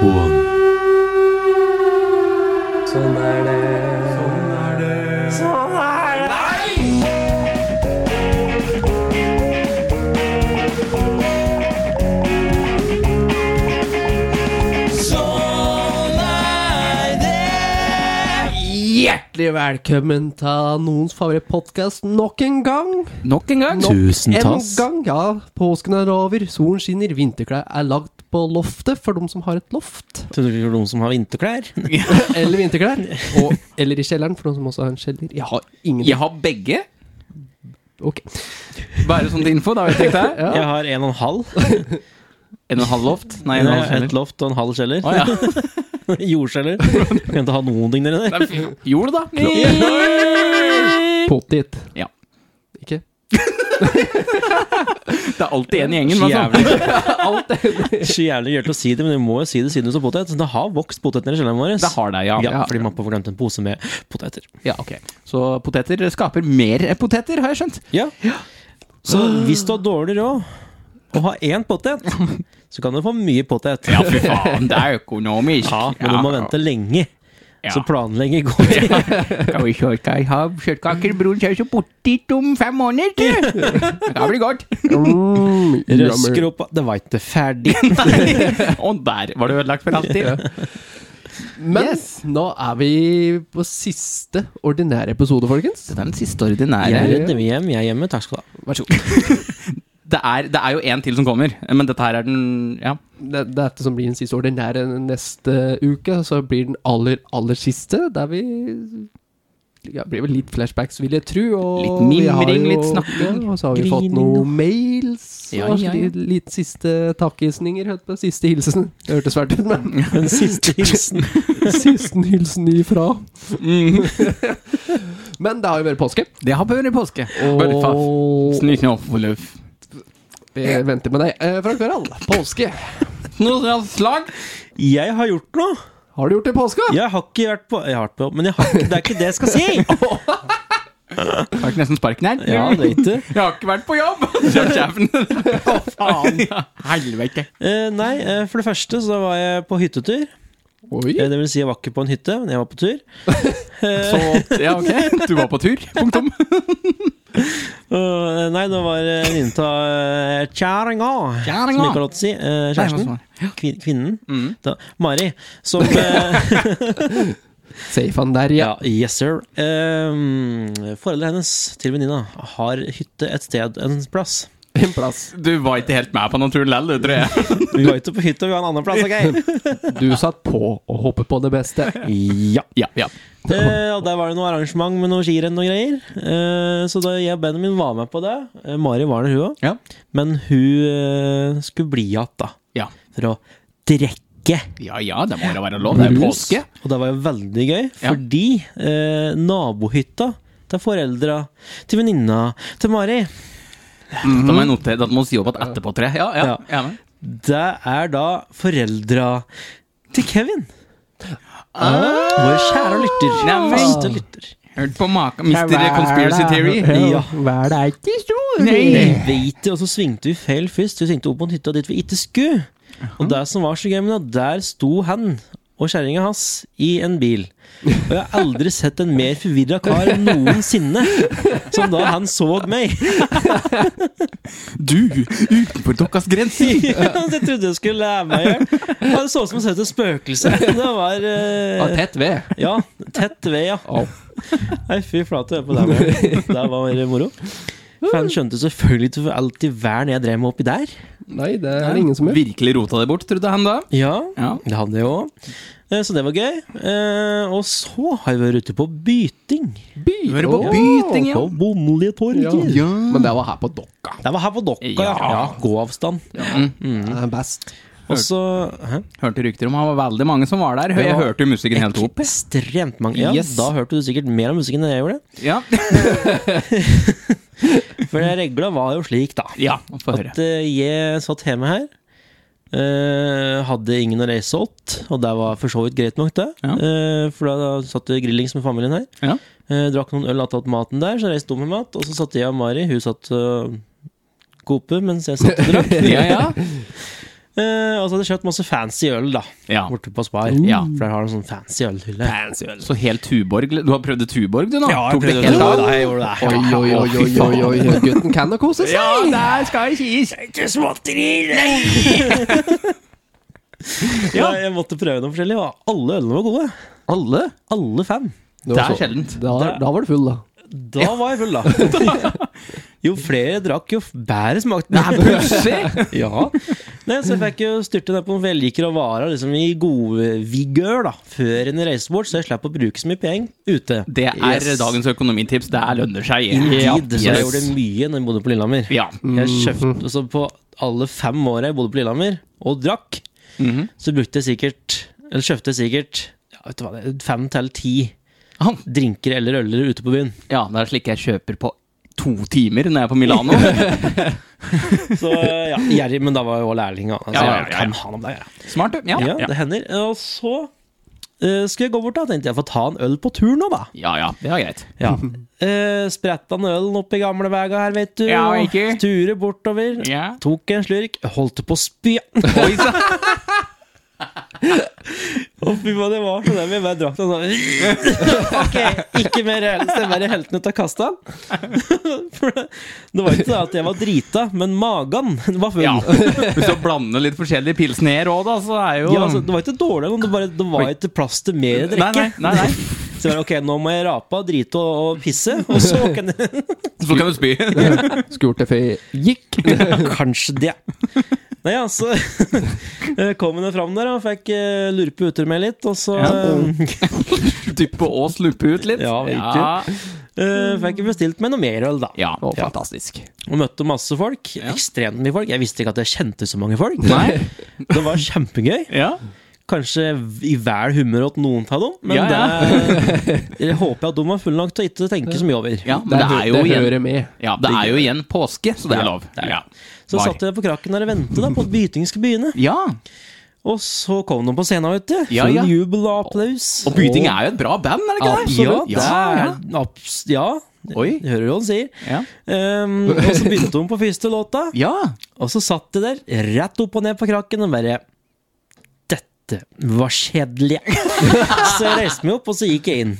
One. Sånn er det. Hjertelig velkommen til noens favorittpodkast nok en gang. Nok en gang. Nok Mm, Tusen en tass. gang, ja. Påsken er over, solen skinner, vinterklær er lagd på loftet for dem som har et loft. Trodde du det var noen som har vinterklær? Eller vinterklær. Og, eller i kjelleren for noen som også har en kjeller. Jeg har ingen Jeg har begge. Ok. Bare sånn til info, da vet jeg det. Ja. Jeg har en og en halv. En og en halv loft? Nei, en En og en et halv kjeller. loft og en halv kjeller. Å, ja. Jordkjeller. Kan ikke ha noen ting nedi der. Nei, fy- Gjorde det, da. Potet. Ja. Ikke? Det er alltid en i gjengen. men sånn. Alt er Så jævlig gjør til å si det, men vi må jo si det siden du så potet. Det har vokst potet nedi kjelleren vår. Det har deg, ja. ja, fordi mappa får glemt en pose med poteter. Ja, ok. Så poteter skaper mer poteter, har jeg skjønt. Ja. Så hvis du har dårlig råd og har én potet, så kan du få mye potet. Ja, fy faen, det er økonomisk. Ja, men du må vente lenge. Ja. Så planlegge godt. Skal vi kjøpe kjøttkaker, brun saus og potet om fem måneder, du? Det blir godt. mm, Røsker opp Det var ikke ferdig. Og der var det ødelagt for alltid. Men nå er vi på siste ordinære episode, folkens. Det er den siste Jeg ordinære. redder vi hjem, jeg er hjemme. Takk skal du ha. Vær så god. Det er, det er jo en til som kommer, men dette her er den Ja. Det, det er dette som blir den siste ordinære neste uke. Så blir den aller, aller siste, der vi ja, blir vel litt flashbacks, vil jeg tro. Og Litt vi har mimring, jo- litt snakking, Ja, og så har vi grining. fått noen mails. Ja, og ja, ja. sli- Litt siste takkhilsninger. hørte på, Siste hilsen. Det hørtes fælt ut, men En siste hilsen. siste hilsen ifra. Mm. men det har jo vært påske, Det har vært påske. Og og snøsnøffeløf. vi venter med deg. Eh, Frank Verald, påske. Snøslag. Jeg har gjort noe. Har du gjort det i påska? Jeg har ikke vært på Jeg har vært på Men jeg har ikke, det er ikke det jeg skal si! Fikk nesten sparken her. Ja, det vet du. Jeg har ikke vært på jobb! Så sjefen. Å, faen. Helvete. Eh, nei, eh, for det første så var jeg på hyttetur. Oi. Eh, det vil si, jeg var ikke på en hytte, men jeg var på tur. Så Ja, ok. Du var på tur. Punktum. Og, eh, nei, det var eh, venninna til eh, kjerringa, Kjerringa. som ikke har lov til å si. Eh, kjæresten. Kvin kvinnen. Da, Mari. Som eh, Safe han der, ja. Ja, yes sir. Eh, foreldrene hennes til venninna har hytte et sted, en plass. En plass. Du var ikke helt med på noen tur likevel, du, tror jeg. Vi var ikke på hytta, vi var en annen plass, OK? Du satt på og hoppet på det beste. Ja. Ja, ja. Eh, og der var det noe arrangement med noe skirenn og greier. Eh, så da jeg og Benjamin var med på det eh, Mari var det, hun òg. Ja. Men hun eh, skulle bli igjen, da. Ja, For å drikke. ja, ja det må da være lov. Det er jo Brus. påske. Og det var jo veldig gøy, Ja. fordi eh, nabohytta til foreldra, til venninna, til Mari Da må jeg notere at må si opp at etterpå tre. Ja, ja. Ja. Jeg er med. Det er da foreldra til Kevin. Vår kjære lytter. Ah. Neimen. Faste lytter. Hørt på maka. Mr. Conspiracy Theory. Ja. Hva er det ikke stor? Nei. Jeg vet det, og så svingte vi feil først. Vi svingte opp på en hytte dit vi ikke skulle. Og det som var så gøy med det, der sto han og kjerringa hans i en bil. Og jeg har aldri sett en mer forvirra kar noensinne som da han så meg. Du, utenfor deres grenser. Så jeg trodde jeg skulle lære meg å gjøre. Han så ut som å se et spøkelse. Det var eh, tett ved. Ja, tett ved, ja. Au. Nei, fy flate, hør på det. Mari. Det var veldig moro. For han skjønte selvfølgelig ikke alltid væren jeg drev med oppi der. Nei, det er det ingen som gjør. Virkelig rota det bort, trodde han da. Ja, Ja. det hadde jeg òg. Så det var gøy. Eh, Og så har vi vært ute på byting. By. Du hører på Å, byting, ja. På Bondelige ja. torget. ja. Men det var her på dokka. Det var her på Dokka, ja. Ja. ja. Gåavstand. Det er best. Og så Hæ? Hørte rykter om han var veldig mange som var der. Jeg Ja. hørte jo musikken helt opp. Ekstremt mange. Ja, Yes. Da hørte du sikkert mer om musikken enn jeg gjorde. Ja, For regla var jo slik, da. ja få høre. At eh, jeg satt hjemme her. eh, hadde ingen å reise åt, og det var for så vidt greit nok, det. Ja. Eh, for da satt det grillings med familien her. Ja. Eh, drakk noen øl attåt maten der, så reiste hun med mat. Og så satt jeg og Mari, hun satt og kope mens jeg satt og drakk. Ja, ja. Eh, og så hadde jeg kjøpt masse fancy øl, da. Ja. Mm. Borte på Spar. Ja. For der har de sånn fancy ølhylle. Fancy øl. Så helt Tuborg Du har prøvd Tuborg, du, nå? Ja, jeg Tok det prøvde helt det. av? Ja, jeg gjorde det. Oi, oi, oi, oi, oi, oi, oi. gutten kan da kose seg! der skal det sies! Ikke småtteri! ja, jeg måtte prøve noe forskjellig, og alle ølene var gode. Alle? Alle fem. Det Det var er så- sjeldent. Da, Det- da var du full, da. Da var jeg full, da. Jo flere jeg drakk, jo bedre smakte det. Plutselig! Ja. Nei, så jeg fikk jo styrte ned på noen velliker og varer liksom i god vigør da, før en reiste bort, så jeg slapp å bruke så mye penger ute. Det er Yes. dagens økonomitips. Det er lønner seg. Ja, Indeed, så jeg yes. gjorde mye når jeg bodde på Lillehammer. Ja. Mhm. Jeg kjøpte altså På alle fem åra jeg bodde på Lillehammer og drakk, Mhm. så brukte jeg sikkert Eller kjøpte jeg sikkert ja, vet du hva, det er, fem til ti Ah. drinker eller øler ute på byen. ja, det er slik jeg kjøper på to timer når jeg er på Milano. Så ja, gjerrig, men da var jeg jo lærling. da. Altså, Ja, ja, ja, jeg ja. Kan ha noe der, ja. Smart, du. Ja. Ja, Ja. det hender. Og så eh, skulle jeg gå bort, da. Tenkte jeg får ta en øl på tur nå, da. ja, ja. Det er greit. Ja. Uh, spretta en øl opp i gamlevega her, vet du. Ja, og ikke? Ture bortover. Ja. Tok en slurk, holdt på å spy. Oi, så. Å, fy faen, det var så dem. Jeg bare drakk den sånn. ok, ikke mer øl. Så jeg bare helte den ut av kassa. For det, det var ikke det at jeg var drita, men magen var full. Ja. Ja. Hvis du blander litt forskjellige pilsner òg, da, så er jo altså, det var ikke dårlig, men det, bare, det var ikke plass til mer å Nei, drikke. nei, nei, nei. Så jeg bare, ok, nå må jeg rape, drite og, og pisse, og så kan jeg Så kan du spy. Skulle gjort det før jeg gikk. Kanskje det. Nei, altså eh, Kom hun fram der og fikk eh, lurpe uter med litt, og så eh, Dyppe og sluppe ut litt. Ja, ja. eh, fikk jeg bestilt meg noe mer øl, da. ja. Å, fantastisk. Og møtte masse folk. Ekstremt mye folk. Jeg visste ikke at jeg kjente så mange folk. Nei. Det var kjempegøy. Ja. Kanskje i vel humør åt noen av dem, men Ja, ja. det jeg håper jeg at de var fulle nok til å ikke tenke så mye over. ja, men det hø- er jo det igjen hører med. ja, det er jo igjen påske, så det er lov. det er det. Ja. Så Var. satt jeg på krakken der og ventet da, på at bytingen skulle begynne. ja. Og så kom de på scenen, vet du. Ja, ja. Full jubel og applaus. Og Byting er jo et bra band, er det ikke det? Absolutt. Ja, Ja, det er- abs- ja. Oi. Jeg hører jo hva han sier. Ja. Ehm, og så begynte hun på første låta, ja. og så satt de der, rett opp og ned på krakken, og bare Dette var kjedelig. så jeg reiste meg opp, og så gikk jeg inn.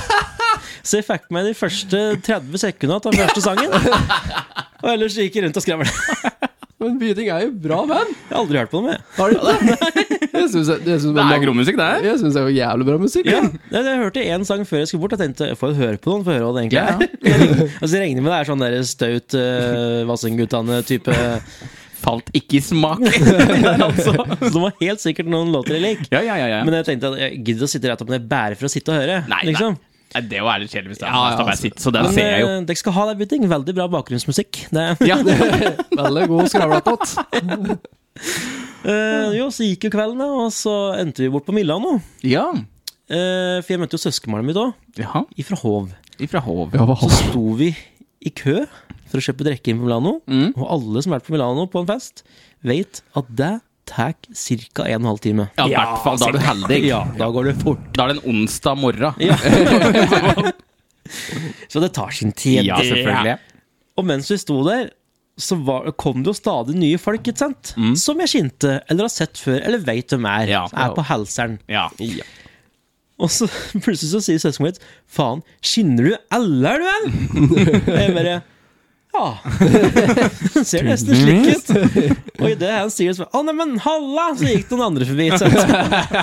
så jeg fikk meg de første 30 sekundene av den første sangen. Og ellers gikk jeg rundt og skravla. Jeg Men byting er jo bra band. har aldri hørt på dem, jeg. Har du ikke det? Jeg syns det, det, Det er gromusikk, det her. Jeg synes det er jo jævlig bra musikk. Ja, Nei, jeg hørte én sang før jeg skulle bort. Jeg tenkte jeg får høre på noen. Får høre hva det egentlig Ja, er. Jeg regner- altså, jeg regner med det er sånn der staut uh, Vassendgutane-type Falt ikke i smak. Så det var helt sikkert noen låter jeg lik. Ja, ja, ja. altså. ja. Men jeg tenkte at jeg gidder å sitte rett opp ned bare for å sitte og høre. Nei, nei. liksom. Nei, det er jo ærlig kjedelig hvis det er Ja, ja, fast å bare altså. sitte, så den Men ser jeg jo. eh, dere skal ha det, Bytting. Veldig bra bakgrunnsmusikk. Det. Ja, Veldig god skravletått. Eh, jo, så gikk jo kvelden, da, og så endte vi bort på Milano. ja. Eh, for jeg møtte jo søskenbarnet mitt òg, Jaha, ifra Hov. ifra Hov. Ja, hva Så sto vi i kø for å kjøpe drikke inn på Milano. Mm. Og alle som har vært på Milano på en fest, vet at det tar ca. en og en halv time. Ja, i hvert fall. Da er du heldig. Ja, da går det fort. Da er det en onsdag morgen. Ja. Så det tar sin tid. Ja, selvfølgelig. Og mens vi sto der, så var, kom det jo stadig nye folk, ikke sant? Som jeg kjente, eller har sett før, eller veit hvem er. Ja. Er på halseren. Ja. Og så plutselig så sier søskenbarnet mitt Faen, skinner du alle, er du vel? Og jeg bare Ja. Ser nesten slik ut. Og idet han sier det, så bare Å, neimen, halla! Så gikk det noen andre forbi. ikke sant?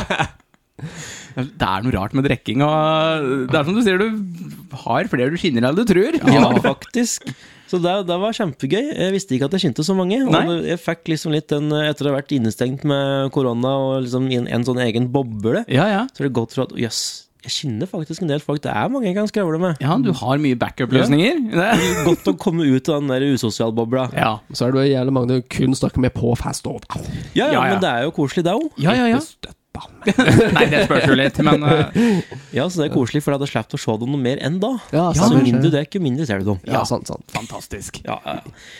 Det er noe rart med drikking og Det er som du sier, du har flere du skinner enn du tror. Ja, faktisk. Så det, det var kjempegøy. Jeg visste ikke at jeg kjente så mange. Og Nei. jeg fikk liksom litt den eh, Etter å ha vært innestengt med korona og liksom i en, en sånn egen boble, Ja, ja. så er det godt for at jøss, jeg kjenner faktisk en del folk. Det er mange jeg kan skravle med. Ja, du har mye backup-løsninger. Det- Godt å komme ut av den der usosialbobla. Ja. Så er det jo jævlig mange du kun snakker med på fest og Ja, Au. ja, Ja, ja. men det er jo koselig, det òg. Ja, ja, ja. Nei, det spørs jo litt, men eh, Ja, så det er koselig, for da hadde jeg sluppet å se dem noe mer enn da. Ja, så sant. mindre du drikker, jo mindre ser du dem. Ja, sant, sant. fantastisk. Ja, ja.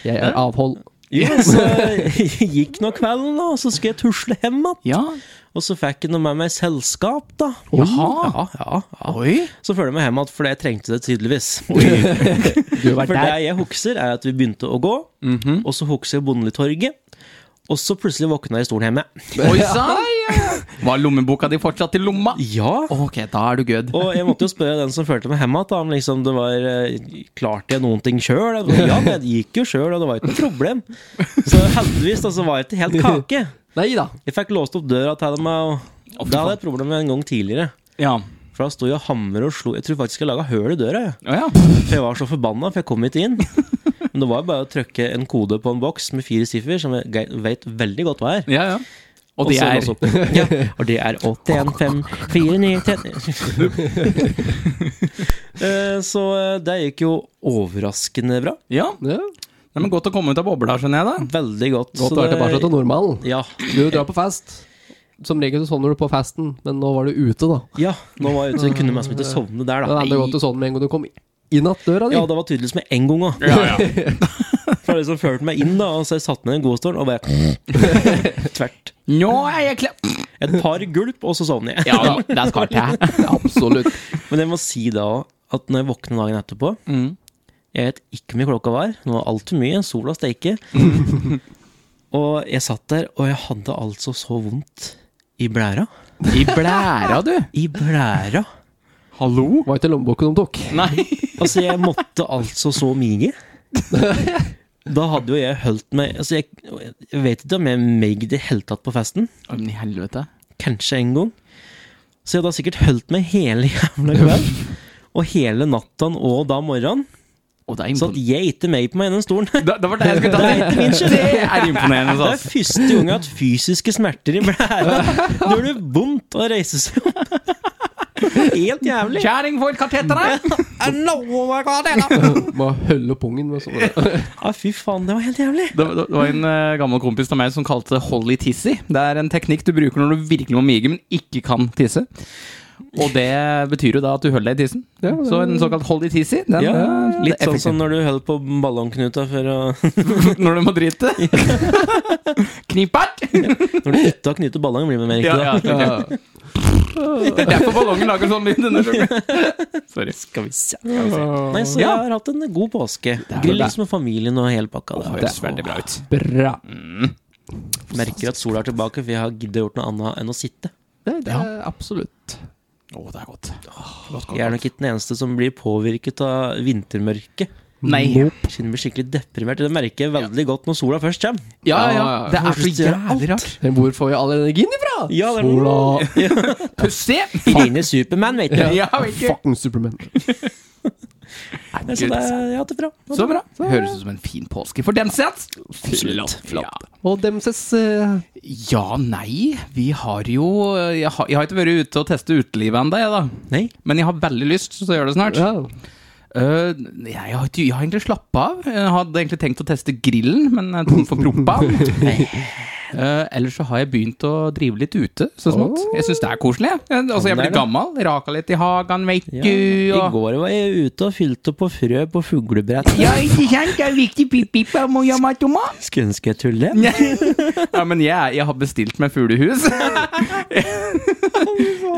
Jeg er avhold. Ja, så gikk nå kvelden, da, og så skulle jeg tusle hjem igjen. Ja. Og så fikk jeg nå med meg selskap, da. Jaha. Ja, ja, ja. Oi. Så følger jeg meg hjem igjen, for jeg trengte det tydeligvis. Du har For vært der. Mhm. det jeg husker, er at vi begynte å gå, og så husker jeg Bondetorget. Og så plutselig våkna jeg i stolen hjemme. Oi sann! Var lommeboka di fortsatt i lomma? Ja! Ok, da er du good. Og jeg måtte jo spørre den som førte meg hjem igjen, da, om liksom det var eh, Klarte jeg noen ting sjøl? Ja, det gikk jo sjøl, og det var ikke noe problem. Så heldigvis da, så var jeg ikke helt kake. Nei da. Jeg fikk låst opp døra til dem, og fy da hadde jeg et problem en gang tidligere. Ja. For da sto jeg og hamra og slo Jeg tror faktisk jeg laga høl i døra, jeg. Å ja. For jeg var så forbanna, for jeg kom ikke inn. Men det var jo bare å trykke en kode på en boks med fire siffer, som jeg ge- vet veldig godt hva er. ja, ja. Og det så er låse opp. ja, Og det er 815493 Så eh, det gikk jo overraskende bra. Ja, Ja. Nei, men godt å komme ut av bobla, skjønner jeg da. Veldig godt. Godt å være tilbake til normalen. Ja. Du drar på fest. Som regel så sovner du på festen, men nå var du ute, da. ja. Nå var jeg ute, så jeg kunne nesten ikke sovne der, Da da. hadde det gått til sånn med en gang du kom inn att døra di. Ja, det var tydeligvis med en gang òg. For det som førte meg inn, da, og så jeg satte meg i den gode stolen og bare Tvert. Nå er jeg klar! Et par gulp, og så sovner jeg. Ja da, det skal til. Absolutt. Men jeg må si da òg at når jeg våkner dagen etterpå Mm. Jeg vet ikke hvor mye klokka var. Det var altfor mye. Sola steiker. og jeg satt der, og jeg hadde altså så vondt i blæra. I blæra, du! I blæra! Hallo? Var ikke lommeboka de tok. Nei. Altså, jeg måtte altså så mige. Da hadde jo jeg holdt meg altså jeg, jeg vet ikke om jeg meg det hele tatt på festen. Å, Men i helvete. Kanskje en gang. Så jeg hadde sikkert holdt meg hele jævla kveld. Og hele natta og da morgenen. Å, det, er Så at impon- Sånn, jeg ikke meg på meg i den stolen. det, det var det jeg skulle ta Det er ikke min skyld. Det er Det imponerende, er altså. første gang jeg har hatt fysiske smerter i blæra. Det gjør det vondt å reise seg opp. Helt jævlig. Kjæring får kateteret! Må holde pungen med sånn. sånne. Ja, fy faen, det var helt jævlig. Det, det var en eh, gammel kompis av meg som kalte det holly tissy. Det er en teknikk du bruker når du virkelig må mige, men ikke kan tisse. Og det betyr jo da at du holder deg i tissen. Så en såkalt holly tissy, den eh, Ja, er litt sånn effektiv. som når du holder på ballongknuta for å når du må drite. Knipert! Når du ikke har knyttet ballong, blir det mer riktig. Ja, ja, da. ja. Det er derfor ballongen lager sånn lyd. denne gangen. Sorry. Skal vi se. Nei, så jeg Ja. har hatt en god påske. er bra. Grilles med familien og hele pakka. Det Der. høres veldig bra ut. Bra. Merker at sola er tilbake, for jeg har giddet å gjort noe annet enn å sitte. Det, det er absolutt. Å, det er godt. Jeg er nok ikke den eneste som blir påvirket av vintermørket. Nei. Siden jeg blir skikkelig deprimert. Det merker jeg veldig godt når sola først kommer. Ja, ja. Det er så Først gjør jeg jævlig rart. Men hvor får jeg all energien ifra? Ja, det er- Sola. Pussig! Fine Superman, vet du. Ja, vet du. Fucking Superman. Nei, så det, jeg har hatt det bra. Så bra. Sånn, Høres ut som en fin påske for dem sett. Absolutt. Og demses eh, Ja, nei. Vi har jo Jeg har, jeg har ikke vært ute og testet utelivet ennå, jeg, da. Nei. Men jeg har veldig lyst, så jeg gjør det snart. ja. Øh, nei, jeg, har, ikke- jeg har egentlig slappa av. Jeg hadde egentlig tenkt å teste grillen, men jeg er tom for proppa. Øh, ellers så har jeg begynt å drive litt ute, så smått. Jeg syns det er koselig. jeg. Jeg, altså, jeg Sånn er blir det. gammel, raka litt i hagen, veit Ja. du. I Og... går var jeg ute og fylte på frø på fuglebrett. Ja, ikke sant? Det er viktig pip-pip, må gjøre meg tomat. Skulle ønske jeg tulle. Ja, men jeg, jeg har bestilt meg fuglehus.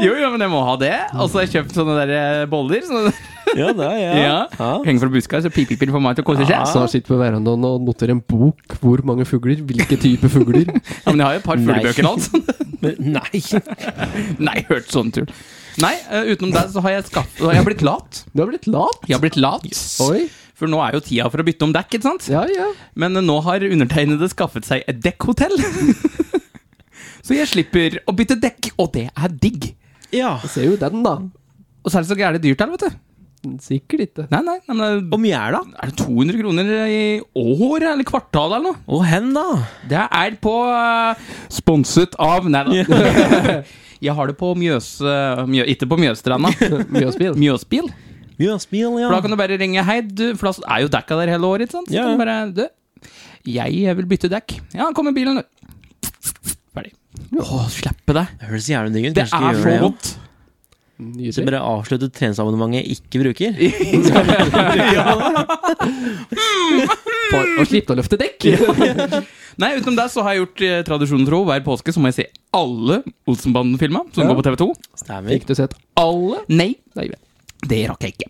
jo, jo, men jeg må ha det. Og så har jeg kjøpt sånne der eh, boller. Sånne, Ja, det er jeg. ja. Henger fra buska, så pip-pip for meg til å kose seg. Så sitter på verandaen og noterer en bok. Hvor mange fugler? Hvilke type fugler? Ja, men jeg har jo et par fuglebøker og alt. sånn. Men, nei. Nei, hørt sånn tull. Nei, eh, utenom det så har jeg, skaff, har jeg blitt lat. Du har blitt lat. Jeg har blitt lat. Oi. For nå er jo tida for å bytte om dekk, ikke sant? Ja, ja. Men eh, nå har undertegnede skaffet seg et dekkhotell. så jeg slipper å bytte dekk, og det er digg. Ja. Ser jo den, da. Og så er det så gærent dyrt her, vet du. Sikkert ikke. Nei, nei, nei men det- Om gjerda? Er det 200 kroner i året, eller kvartalet, eller noe? Og hen, da? Det er på eh, Sponset av Nei da. Jeg har det på Mjøs... eh, Mjø, ikke på Mjøsstranda. Mjøsbil. Mjøsbil. Mjøsbil, ja. For da kan du bare ringe hei, du, for da er jo dekka der hele året, ikke sant? Så Ja, ja. kan du bare du, jeg vil bytte dekk. Ja, kom med bilen, du. Ferdig. Å, slippe det. Det høres jævlig digg ut. Det Kanskje vi gjør er så det, ja. godt. Så Nydelig. bare avslutte treningsabonnementet jeg ikke bruker. For å slippe å løfte dekk. Nei, utenom det så har jeg gjort eh, tradisjonen tro hver påske så må jeg se alle Olsenbanden-filma som Ja. går på TV2. Stemmer. Fikk du sett alle? Nei, Nei, vel. det rakk jeg ikke.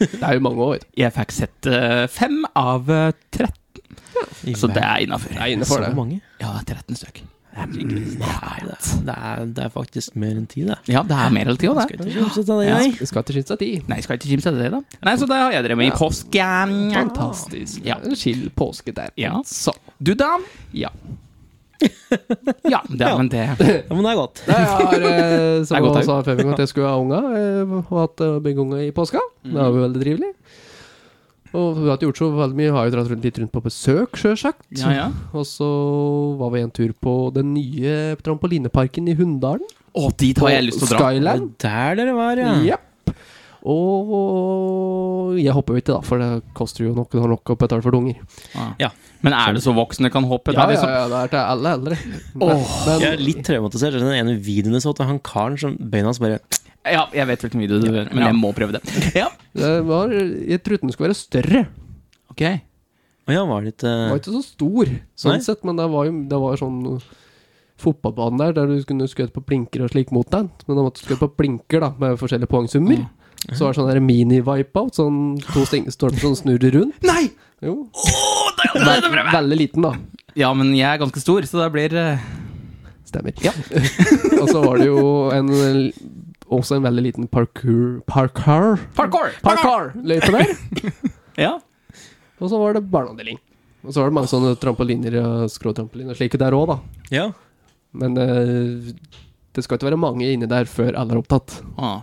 det er jo mange år. Jeg fikk sett eh, fem av eh, 13. Så det er innafor. er inne for Så det. mange? Ja, 13 stykk. Det er, det er faktisk mer enn ti, det. Ja, det er mer eller ti òg, det. Skal ikke kimse av det, Ja. jeg. Vi skal til Shinsa 10. Nei, skal jeg ikke kimse av det, da. Nei, så det har jeg drevet med i påsken. Fantastisk. Ja. En chill påske der. Ja. Du, da? Ja. Ja, det er men det. Ja, men det er godt. Nei, Jeg har, eh, Det som er jeg godt, sa før vi kom, at jeg skulle ha unga, eh, og hatt eh, begge unga i påska. Mm. Det var jo veldig trivelig. Og vi har ikke gjort så veldig mye, vi har jo dratt rundt litt rundt på besøk, sjølsagt. Ja, ja. Og så var vi en tur på den nye trampolineparken i Hunndalen. Å, dit har jeg lyst til å dra. Det er Skyland. der dere var, ja. Jepp. Og jeg hopper jo ikke, da, for det koster jo nok, det har nok å betale for dunger. Ja. Ah. Men er det så voksne kan hoppe? Ja, Det er ja, liksom- ja, det er til alle eldre. Åh. Men- Jeg er litt traumatisert. Den ene videoen jeg så til han karen som beina hans bare Ja, jeg vet hvilken video du gjør, men jeg må prøve det. Ja, Det var, jeg trodde den skulle være større. ok. Å ja, var eh, det ikke Den var ikke så stor, sånn Nei. sett, men det var jo det var jo sånn fotballbane der der du kunne skjøte på blinker og slik mot deg. Men da måtte du skjøte på blinker da med forskjellige poengsummer. Så var det sånn der mini-wipeout, sånn to sting- stolper som snurrer rundt. Nei! Jo. veldig liten, da. Ja, men jeg er ganske stor, så det blir eh, Stemmer. og så var det jo en også en veldig liten parkour Parkour? Parkour! Parkour-løype der. Ja. Og så var det barneavdeling. Og så var det mange sånne trampoliner og skråtrampoliner og slike der òg, da. Ja. Men eh, det skal ikke være mange inne der før alle er opptatt. Ah.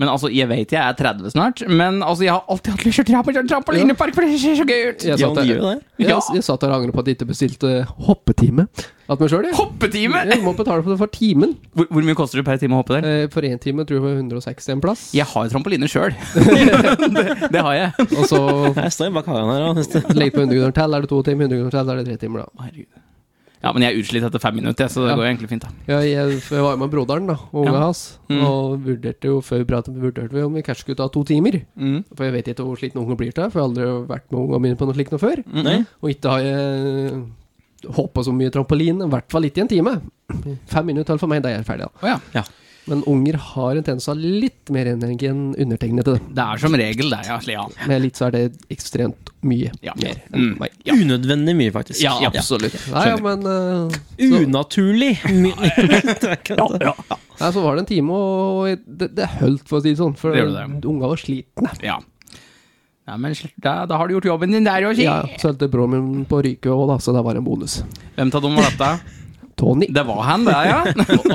Men altså, jeg vet jeg er 30 snart, men altså, jeg har alltid hatt lyst til å dra på en trampolinepark, for det ser så gøy ut! Jeg ja, satt de gjør der, jo det. Ja. jeg, jeg satt der og angret på at jeg ikke bestilte hoppetime. At meg sjøl, jeg. Hoppetime! Jeg må betale for det for timen. Hvor, hvor mye koster det per time å hoppe der? Eh, For én time tror jeg det var 160 en plass. Jeg har jo trampoline sjøl. det, det har jeg. Og så Jeg står bak hagen her. og neste- legge på 100 kroner til, er det to timer. 100 kroner til, er det tre timer, da. Herregud. Ja, men jeg er utslitt etter fem minutter, så det Ja. går egentlig fint. da Jeg, jeg, for jeg var jo med broderen da, og ungen Ja. hans, Mm. og vurderte jo før vi pratet, vurderte vi om vi kanskje skulle ta to timer. For jeg vet ikke hvor sliten ungen blir til, for jeg har aldri vært med ungene mine på noe slikt noe før. Mm. Nei. Og ikke har jeg hoppa så mye trampolin, i hvert fall ikke i en time. Fem minutter til for meg, da er jeg ferdig. Da. Å ja. Men unger har en tendens til å ha litt mer energi enn undertegnede. Det er som regel det, ja. ja. Med litt så er det ekstremt mye Ja. mer enn Mm. meg. Ja. Unødvendig mye, faktisk. Ja, absolutt. Nei, ja, men eh, så, Unaturlig mye. Det er ikke det. nei, så var det en time, og jeg- det, det holdt, for å si det sånn. For Det gjorde unga var slitne. Ja. Nei, men sl- da, da har du gjort jobben din der òg, si. Ja, så holdt broren min på å ryke òg, da, så det var en bonus. Hvem av dem var dette? Tony. Det var han, det, ja.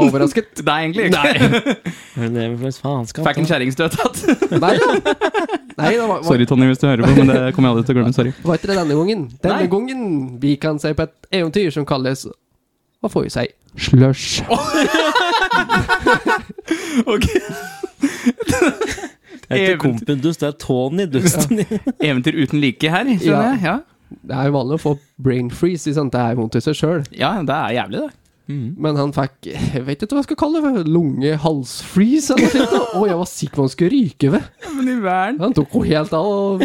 Overrasket. Det er egentlig ikke. Men det er vel slags faenskap, Fikk en da. kjerringstøt att. Nei, ja. nei det var, var, Tonje, hvis du hører på, men det kommer jeg aldri til å glemme. Sorry. var ikke det denne gangen. Denne Nei. gangen vi kan se på et eventyr som kalles Hva får vi si? Slush. Ok. Det er ikke Kompendust, det er Tony Dusten. Eventyr uten like her, Ja. skjønner jeg. Ja. Det er jo vanlig å få brain freeze, ikke sant? det er vondt i seg sjøl. ja, det er jævlig, det. Men han fikk jeg vet ikke hva jeg skal kalle det, lunge-hals-freeze eller noe sånt. Og jeg var sikker på han skulle ryke ved. Men i verden. Han tok jo helt av og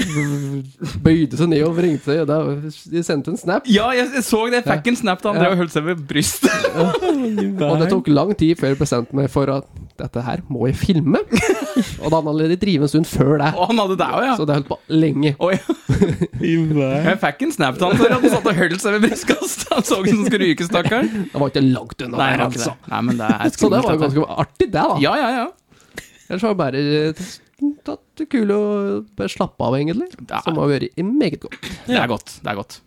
bøyde seg ned og vrengte seg. og da- De sendte en snap, Ja, jeg, jeg så det. Jeg fikk en snap da han Ja. drev og holdt seg ved brystet. og det tok lang tid før jeg bestemte meg for at dette her må jeg filme. Og da hadde han allerede drevet en stund før det. Og han hadde det òg, ja. Så det holdt på lenge. Oi, jeg fikk en snap til han for at han satt og holdt seg ved brystkassa. Han så ut som han skulle ryke, stakkaren. Det var ikke langt unna. Nei, der, han har ikke altså. det. Nei, men det er Så det var jo dette. ganske artig, det, da. Ja, ja, ja. Ellers var det bare eh, tatt det kule og bare slappe av, egentlig. Ja. Som har vært meget godt. Det er godt. Det er godt.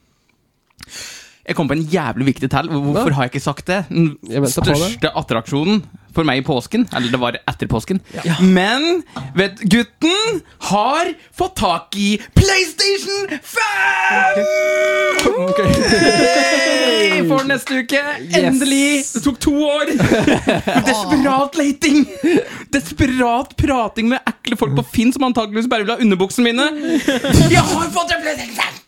Jeg kom på en jævlig viktig tell. Hvorfor har jeg ikke sagt det? Den Jeg venter på det. største attraksjonen for meg i påsken. Eller det var etter påsken. Men vet, gutten har fått tak i PlayStation 5! Hey! For neste uke. Endelig! Det tok to år. Desperat leiting. Desperat prating med ekle folk på Finn som antakeligvis bare vil ha underbuksene mine. Jeg har fått en PlayStation 5!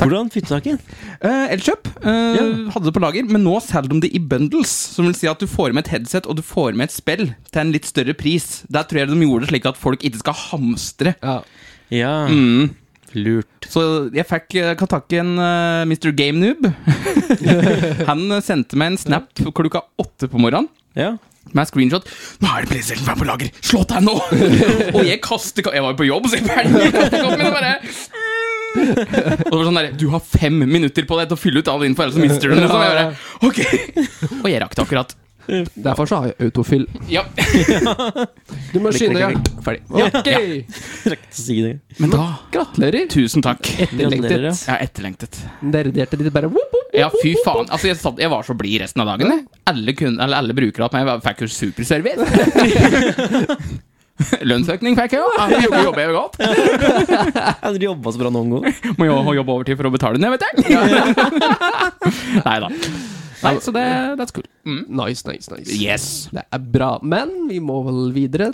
Hvordan fikk du tak i den? Eh, Elkjøp eh, Ja. hadde det på lager, men nå selger de det i bundles. Som vil si at du får med et headset og du får med et spill til en litt større pris. Der tror jeg de gjorde det slik at folk ikke skal hamstre. Ja. Ja, Mm. lurt. Så jeg fikk eh, kan takke en eh, Mr. Game Noob. Han eh, sendte meg en snap klokka åtte på morgenen. Ja. Med screenshot 'Nå er det PlayStation 5 på lager! Slå deg nå!' og jeg kaster ka- Jeg var jo på jobb, så jeg, bare- jeg kaster kappen min og bare Og det var sånn der, Du har fem minutter på deg til å fylle ut all info, ellers så mister du den. Og så var jeg bare, ok. Og jeg rakk det akkurat. Derfor så har jeg autofill. Ja. Du må skynde deg. Ferdig. Ok! Rekker ikke å si det. Men da Gratulerer. Tusen takk. Gratulerer, ja. Etterlengtet. Jeg har etterlengtet. Nerderte litt bare whoop, whoop. Ja, fy faen. Altså, jeg, satt, jeg var så blid resten av dagen. jeg. Alle, kun, eller, alle brukere av meg var- fikk jo superservice. Lønnsøkning fikk jeg jo. Ja, Jeg jobber, jobber jeg jo godt. Jeg hadde jobba så bra noen gang. Må jo ha jobb overtid for å betale ned, vet jeg. Nei da. Nei, så det, that's cool. Mm. Nice, nice, nice. Yes. Det er bra. Men vi må vel videre.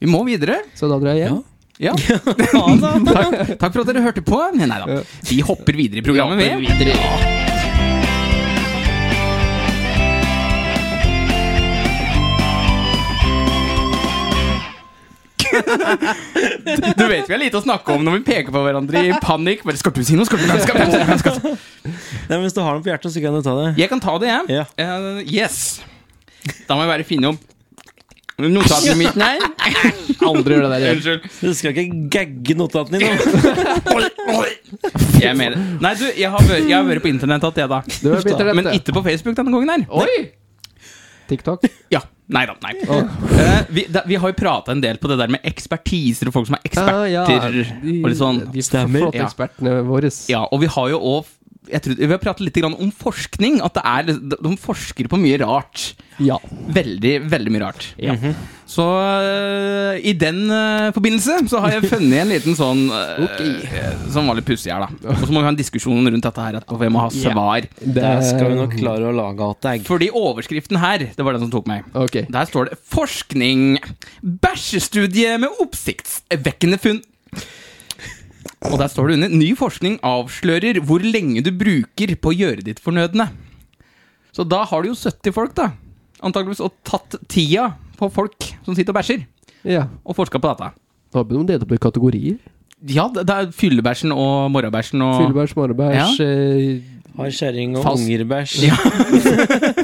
Vi må videre. Så da drar jeg hjem. Ja. Takk, takk for at dere hørte på. Nei da. Vi hopper videre i programmet, vi. Ja. Du vet vi har lite å snakke om når vi peker på hverandre i panikk. Bare, skal du si noe? Skal du, skal du, skal du, skal du? Nei, men Hvis du har noe på hjertet, så kan du ta det. Jeg kan ta det, jeg. Ja. Eh, yes. Da må jeg bare finne opp notatene mine her. Aldri gjør det der igjen. Unnskyld. Du skal ikke gagge notatene dine. Jeg mener Nei, du, jeg har vært, jeg har vært på internett alt, jeg, da. Du har blitt rett, Men det. ikke på Facebook denne gangen her. Oi! TikTok. Ja, nei da, nei. Eh, vi, da, vi har jo prata en del på det der med ekspertiser og folk som er eksperter. Ah, ja. og litt sånn. De Stemmer. flotte Ja. ekspertene våre. Ja, og vi har jo òg jeg tror, Vi har pratet litt grann om forskning. At det er, de- de forsker på mye rart. Ja. Veldig, veldig mye rart. Mhm. Så eh, i den eh, forbindelse så har jeg funnet en liten sånn eh, Ok. eh, Som var litt pussig her, da. Og så må vi ha en diskusjon rundt dette her etterpå, for jeg må ha svar. Der skal vi nok klare å lage alt egg. Fordi overskriften her, det var den som tok meg. Ok. Der står det 'Forskning. Bæsjestudie med oppsiktsvekkende funn'. Og der står det under 'Ny forskning avslører hvor lenge du bruker på å gjøre ditt fornødne'. Så da har du jo 70 folk, da. Antakeligvis og tatt tida på folk som sitter og bæsjer, Ja. og forska på dette. Da begynner de å bli kategorier. Ja, det det er fyllebæsjen og morrabæsjen og Fyllebæsj, smårebæsj, eh, Har kjerring og Fast. ungerbæsj. Ja.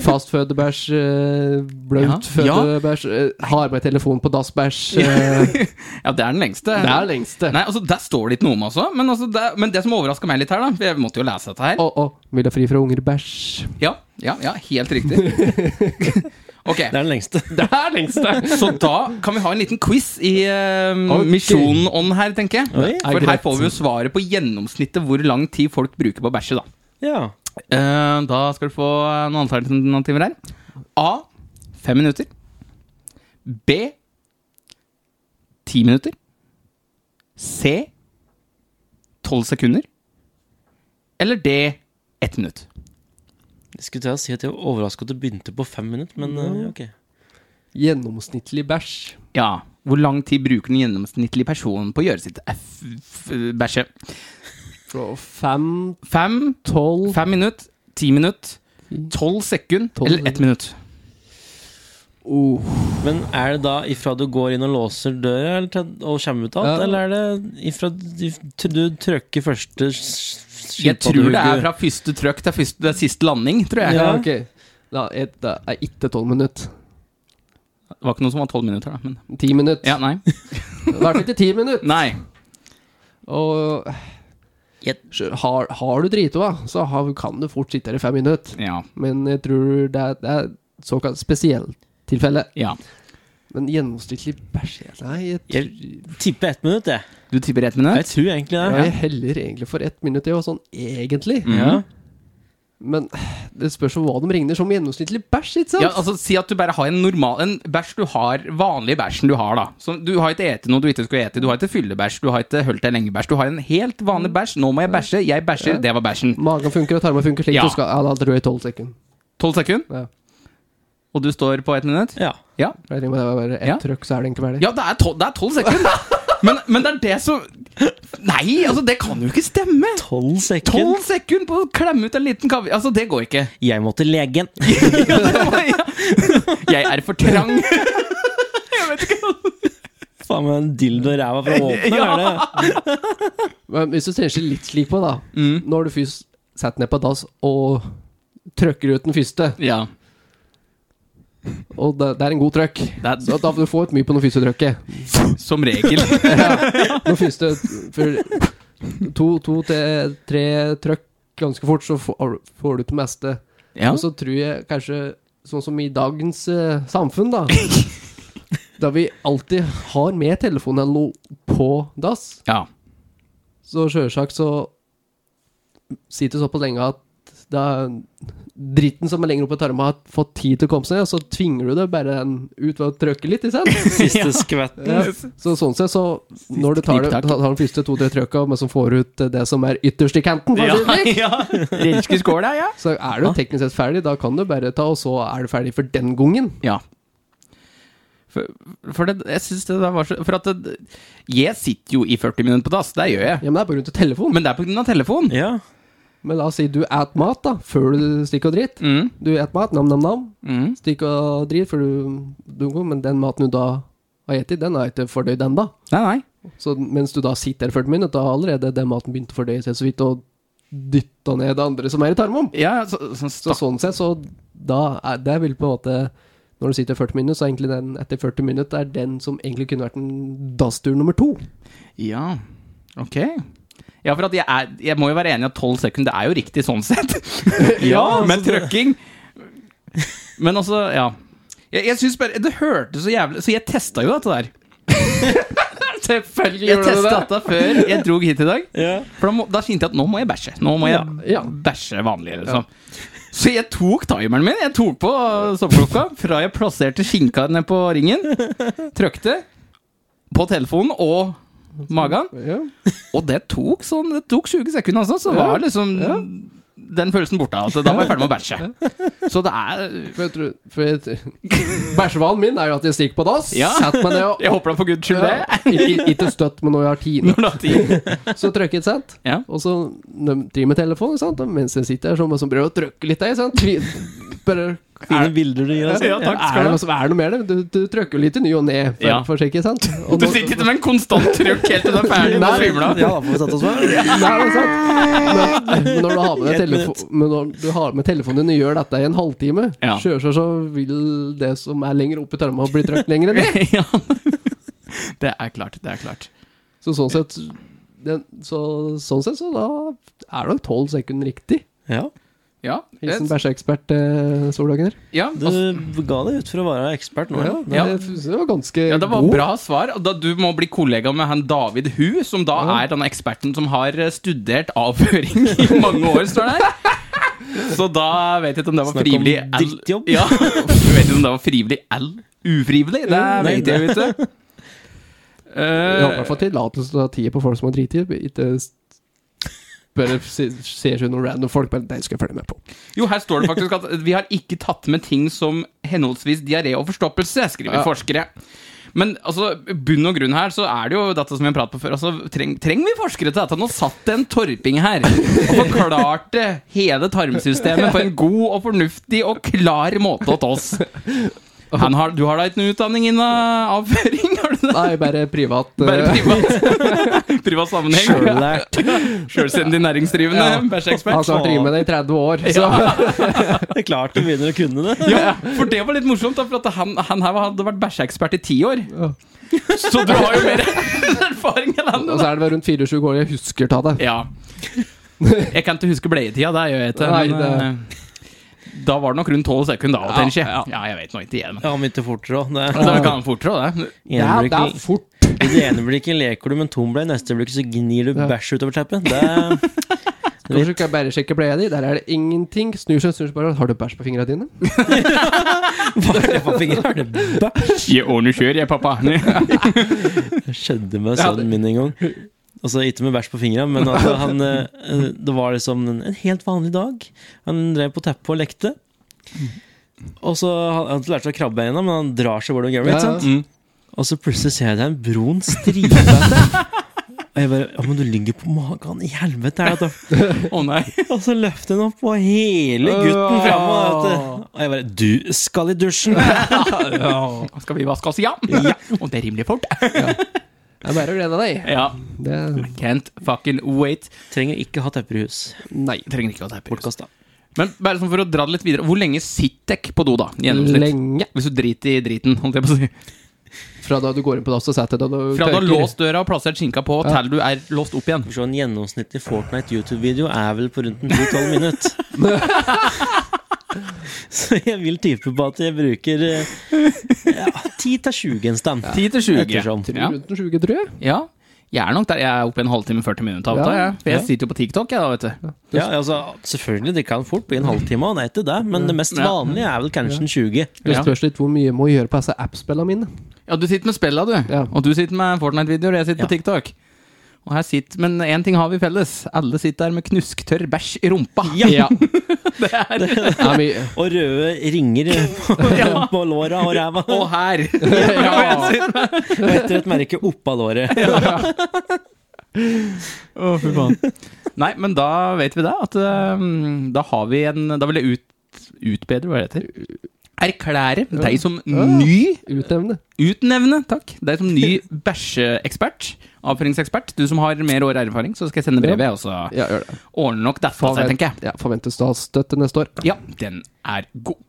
fastfødebæsj, eh, blautfødebæsj, eh, har med telefon på dassbæsj. eh, Ja, det er den lengste. Det er lengste. Nei, altså, Der står det ikke noe om, altså. Men, altså, det, men det som overraska meg litt her, da for Jeg måtte jo lese dette her. Å, å, vil ha fri fra unger, bæsj. Ja, ja, ja, helt riktig. Ok, Det er den lengste. Det er lengste! så da kan vi ha en liten quiz i eh, Ok. Misjonen on her, tenker jeg. Oi, For her er greit. får vi jo svaret på gjennomsnittet hvor lang tid folk bruker på å bæsje, da. Ja. Eh, da skal du få eh, noen alternativer her. A. Fem minutter. B. Ti minutter. C. Tolv sekunder. Eller D. Ett minutt. Jeg skulle til å si at jeg var overraska at det begynte på fem minutter, men eh, ok. Gjennomsnittlig bæsj. Ja. Hvor lang tid bruker den gjennomsnittlige personen på å gjøre sitt f... f bæsje? Fra fem, Fem, tolv fem minutt, ti minutt, tolv sekund Tolv eller ett minutt? oh. Men er det da ifra du går inn og låser døra eller til, og kommer ut igjen, Ja. eller er det ifra du- til du trykker første Jeg tror det er fra første trøkk til første, det er siste landing, tror jeg. Ja, ok. Da, et, da er ikke tolv minutter. Det var ikke noe som var tolv minutter, da. Men Ti minutter. ja, nei. I hvert fall ikke ti minutter. nei. Og sjø- har, har du dritoa, så har, kan du fort sitte her i fem minutter. Ja. Men jeg tror det er, det er såkalt spesielt tilfelle. ja. Men gjennomsnittlig bæsj jeg- Nei, jeg, Jeg tipper ett minutt, jeg. Du tipper ett Jeg minutt? tror egentlig det. jeg heller egentlig for ett minutt, jeg, og sånn egentlig. Mhm. Ja. Men det spørs jo hva de regner som gjennomsnittlig bæsj, ikke sant? Ja, altså Si at du bare har en normal En bæsj du har, vanlig bæsjen du har, da. Som, du har ikke ete noe du ikke skulle ete, du har ikke fyllebæsj, du har ikke holdt deg lenge-bæsj. Du har en helt Mm. vanlig bæsj. Nå må jeg bæsje, jeg bæsjer, det var bæsjen. Magen funker og tarmen funker slik Ja. du skal. Ja, da tror jeg tolv sekunder. Tolv sekunder, Ja. og du står på ett minutt? ja. Ja. Jeg regner med det var bare ett Ja. trøkk, så er det egentlig ferdig. Ja, det er tolv, det er 12 sekunder! Men, men det er det som Nei, altså, det kan jo ikke stemme! Tolv sekunder. Tolv sekunder på å klemme ut en liten kaviar! Altså, det går ikke. Jeg må til legen. Ja, det må, ja. Jeg er for trang. Faen meg en dildo i ræva fra åpner, er det? Men hvis du tenker litt slik på, da Nå har du først satt ned på dass og trøkker ut den første, Ja. og det, det er en god trøkk. Det er, Så da får du få ut mye på den første trøkket. som regel. Ja, den første, for to, to til tre trøkk ganske fort, så får får du det meste. Ja. Og så tror jeg kanskje, sånn som i dagens eh, samfunn, da Da vi alltid har med telefonen eller noe på dass, ja. så sjølsagt så sitter det såpass lenge at det er dritten som er lenger oppe i tarmen, har fått tid til å komme seg, og så tvinger du det bare den ut ved å trykke litt, ikke sant? Siste skvetten. Ja. Så sånn sett, så når du tar, det, kniptak. tar den første to-tre trykka, men som får ut det som er ytterst i kanten, for å si det slik, Renske skåla, ja. så er du teknisk sett ferdig. Da kan du bare ta, og så er du ferdig for den gangen. Ja. For, for det, jeg synes det der var så For at det, jeg sitter jo i 40 minutter på dass, det gjør jeg. Ja, men det er på grunn av telefonen. Men det er på grunn av telefon. Ja. Men la oss si du et mat, da, før du stikker og drit. Mm, Du et mat, nam-nam-nam, mm. stikker og drit, for du dunker, men den maten du da har spist, den er ikke fordøyd ennå. Nei, nei. Så mens du da sitter der 40 minutter, da har allerede den maten begynt å fordøye seg så vidt, og dytta ned det andre som er i tarmen. Ja, så, sånn Så stakk- sånn sett, så da er det vil på en måte Når du sitter 40 minutter, så er egentlig den etter 40 minutter er den som egentlig kunne vært en dasstur nummer to. Ja, ok. Ja, for at jeg, er, jeg må jo være enig i at 12 sekunder er jo riktig sånn sett. Ja, men altså det- trøkking Men altså, ja. Jeg, jeg synes bare Det hørtes så jævlig Så jeg testa jo dette der. Selvfølgelig Jeg testa dette før jeg drog hit i dag. ja. For da, må, da kjente jeg at nå må jeg bæsje. Nå må jeg Ja, ja. bæsje vanlig, liksom. Så jeg tok timeren min. Jeg tok på øh, soveklokka fra jeg plasserte skinka ned på ringen. Trykte på telefonen og magen. Ja. Og det tok sånn Det tok 20 sekunder, altså. Så Ja, var liksom ja. den følelsen borte. Altså, da var jeg ferdig med å bæsje. Så det er For jeg tror for jeg- Bæsjevanen min er jo at jeg stikker på dass, Ja. setter meg ned og Jeg håper da for guds skyld Ja, det. ikke- Ikke støtt, men når jeg har tid. Når det er tid. Så trykker jeg, sant? Ja. Og så når de driver med telefonen, sant? og mens jeg sitter her, så må jeg sånn prøve å trykke litt, jeg, sant? Vi- Bare Fine bilder du gir. Altså. Ja, takk er det, skal du noe ha. som- er det noe mer, det? Du, du trykker jo litt i ny og ne for, Ja. for å sjekke, sant? Og Du nå- sitter ikke med en konstant trykk helt til du er ferdig med å svimle av. Ja, da får vi satt oss med. Nei, det er sant. Men, men når du har med, Ett telefo men når du har med telefonen din og gjør dette i en halvtime, Ja. sjølsagt så vil det som er lenger opp i tarma, bli trykt lenger ned. ja. Det er klart, det er klart. Så sånn sett den, så, sånn sett, så da er det nok tolv sekunder riktig. Ja. Ja, Hilsen bæsjeekspert eh, Solhagen her. ja, altså, Du ga deg ut for å være ekspert nå. Ja, Ja. det, det var ganske ja, det var god. bra svar. Og Da du må bli kollega med han David Hu, som da Ja. er denne eksperten som har eh, studert avføring i mange år, står det her. Så da vet jeg ikke om det var Snakk om frivillig drittjobb. Ja, du vet ikke om det var frivillig eller ufrivillig. Det Nei, vet jeg jo ikke. Jeg har i Eh, hvert fall tillatelse til å ha tid på folk som har driti. Ikke s- bare se- ser seg noen random folk, men det skal jeg følge med på. jo, her står det faktisk at vi har ikke tatt med ting som henholdsvis diaré og forstoppelse, skriver Ja. forskere. Men altså, bunn og grunn her, så er det jo dette som vi har pratet på før. Altså, treng, trenger vi forskere til dette? Nå satt det en torping her og forklarte hele tarmsystemet på en god og fornuftig og klar måte åt oss. Han har, du har da ikke noe utdanning innen avføring? Har du det? Nei, bare privat. Bare eh, privat, privat sammenheng. Sjøllært. Sjølstendig næringsdrivende Ja. Altså, bæsjeekspert. Han som har drevet med det i 30 år. Så. Det er klart du begynner å kunne det. Ja, for det var litt morsomt, da, for at han, han her hadde vært bæsjeekspert i ti år. Så du har jo mer erfaring enn han. du, Og da. så er det vel rundt 24 år jeg husker ta det. Ja. Jeg kan ikke huske bleietida, det gjør jeg ikke. Nei, Men, eh, da var det nok rundt tolv sekunder, da, Ja, tenker jeg. Ja, jeg vet nå ikke igjen. men- Ja, mye fortere òg. Det Altså, det kan fortere, det. ene blikket- fort. I det ene blikket leker du med en tomble, i neste blikk så gnir du Ja. bæsj utover teppet. Det, Kanskje du kan bare sjekke bleia di. Der er det ingenting. Snur seg, snur seg bare. Har du bæsj på fingra dine? Hva er det for fingre? Er det bæsj? Jeg ordner kjør, jeg, pappa. Det skjedde med sønnen min en gang. Altså, ikke med bæsj på fingra, men altså, han, eh, det var liksom en, en helt vanlig dag. Han drev på teppet og lekte. Og så Han han lærte seg å krabbe ennå, men han drar seg hvor det går. Ja, ikke sant? Mm. Og så plutselig ser jeg det er en brun stripe der. Og jeg bare Ja, men du ligger på magen. I helvete er det da? Å nei. Og så løfter han opp, og hele gutten framme. Og vet du. Og jeg bare Du skal i dusjen! Skal vi vaske oss, ja? ja. Og det er rimelig fort. Det er bare å glede deg. Ja. Det Can't fucking wait. Trenger ikke ha tepper i hus. Nei. Trenger ikke å ta på. Bortkasta. Men bare sånn for å dra det litt videre, hvor lenge sitter dere på do, da? i Gjennomsnitt? Lenge. Hvis du driter i driten, holdt jeg på å si. Fra da du går inn på dass og setter deg og Fra du har tørker- låst døra og plassert skinka på, til du er låst opp igjen. Skal vi se, En gjennomsnittlig Fortnite YouTube-video er vel på rundt en 10-12 minutter. Så jeg vil type på at jeg bruker eh, ja, 10-20 gjenstand. 10-20. sånn. Ettersom. Ja. Rundt en 20, tror jeg. Ja. Jeg er nok der. Jeg er oppe i en halvtime, 40 minutter. av og til, Ja. jeg. For jeg sitter jo på TikTok, jeg, da, vet du. Ja, altså, selvfølgelig, det kan fort bli en halvtime, og nei til det, men det mest Ja. vanlige er vel kanskje en 20. Det Ja. spørs litt hvor mye jeg må gjøre på disse app-spillene mine. Ja, du sitter med spella, du. Ja. Og du sitter med Fortnite-videoer, og jeg sitter Ja. på TikTok. Og her sitter, Men én ting har vi felles. Alle sitter der med knusktørr bæsj i rumpa. Ja. Det er Det er mye. Og røde ringer på, Ja. på låra og ræva. Og her! Ja. Og etter et merke oppå låret. Å, fy faen. Nei, men da vet vi det. At um, da har vi en Da vil jeg ut, utbedre, hva det heter. Erklære deg som ny Utnevne. Utnevne, takk. Deg som ny bæsjeekspert. Avføringsekspert. Du som har mer år erfaring, så skal jeg sende brevet. Og så Ja, gjør det. ordner nok dette seg, tenker jeg. Ja, Forventer statsstøtte neste år. Ja, den er god.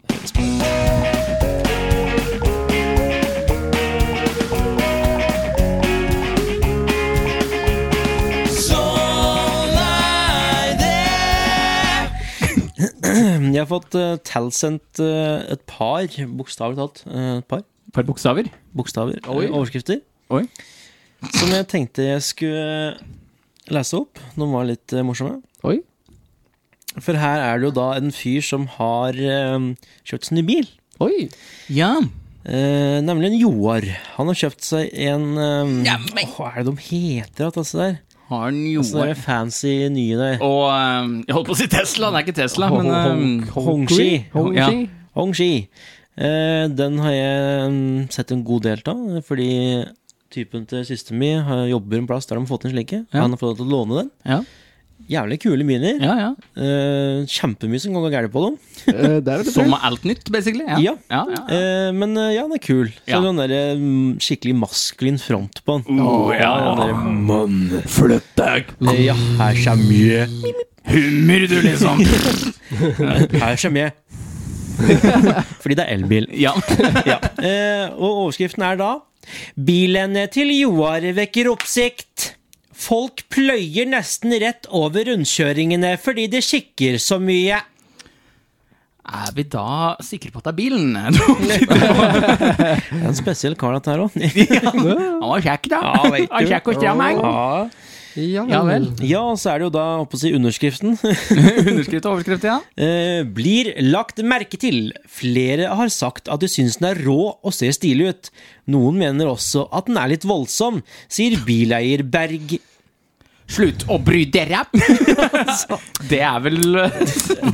Jeg har fått eh, tilsendt eh, et par, bokstavelig talt, eh, et par Et par bokstaver. bokstaver, Oi. eh, overskrifter, Oi. som jeg tenkte jeg skulle lese opp. De var litt eh, morsomme. Oi. For her er det jo da en fyr som har eh, kjøpt sin ny bil. Oi! Ja. Eh, nemlig en Joar. Han har kjøpt seg en eh, Hva er det de heter, at altså der? Har den Altså, det Joar er fancy nye der. Og um, jeg holdt på å si Tesla, det er ikke Tesla, men um, Hongxi. Hongxi. Ja. Hongxi. Eh, den har jeg mm, sett en god del av, fordi typen til søsteren min har- jobber en plass der de har fått en slike. Ja. Han har fått lov til å låne den. Ja, Jævlig kule miner. ja. ja. Eh, kjempemye som kan gå gærent på dem. Eh, Der er det Som er alt nytt, basically. Ja. ja, ja. Eh, men eh, ja, den er kul. Så Ja. den der mm, skikkelig maskulin front på den. Oh, ja. Den der, mm, Flytt deg! eh, ja, her kommer jeg. Hummer, du, liksom! Her kommer jeg. Fordi det er elbil. ja. Ja. Eh, og overskriften er da Bilene til Joar vekker oppsikt. Folk pløyer nesten rett over rundkjøringene fordi det kikker så mye. Er vi da sikre på at det er bilen? Han Det er en spesiell kar, dette her òg. var kjekk, da. Ja, vet du. Han var kjekk og stram, han. Ja. Ja, Ja vel. ja, og så er det jo da oppe å si underskriften. Underskrift og overskrift, ja. Eh, blir lagt merke til. Flere har sagt at de syns den er rå og ser stilig ut. Noen mener også at den er litt voldsom, sier bileier Berg. Slutt å bry dere! Det er vel eh,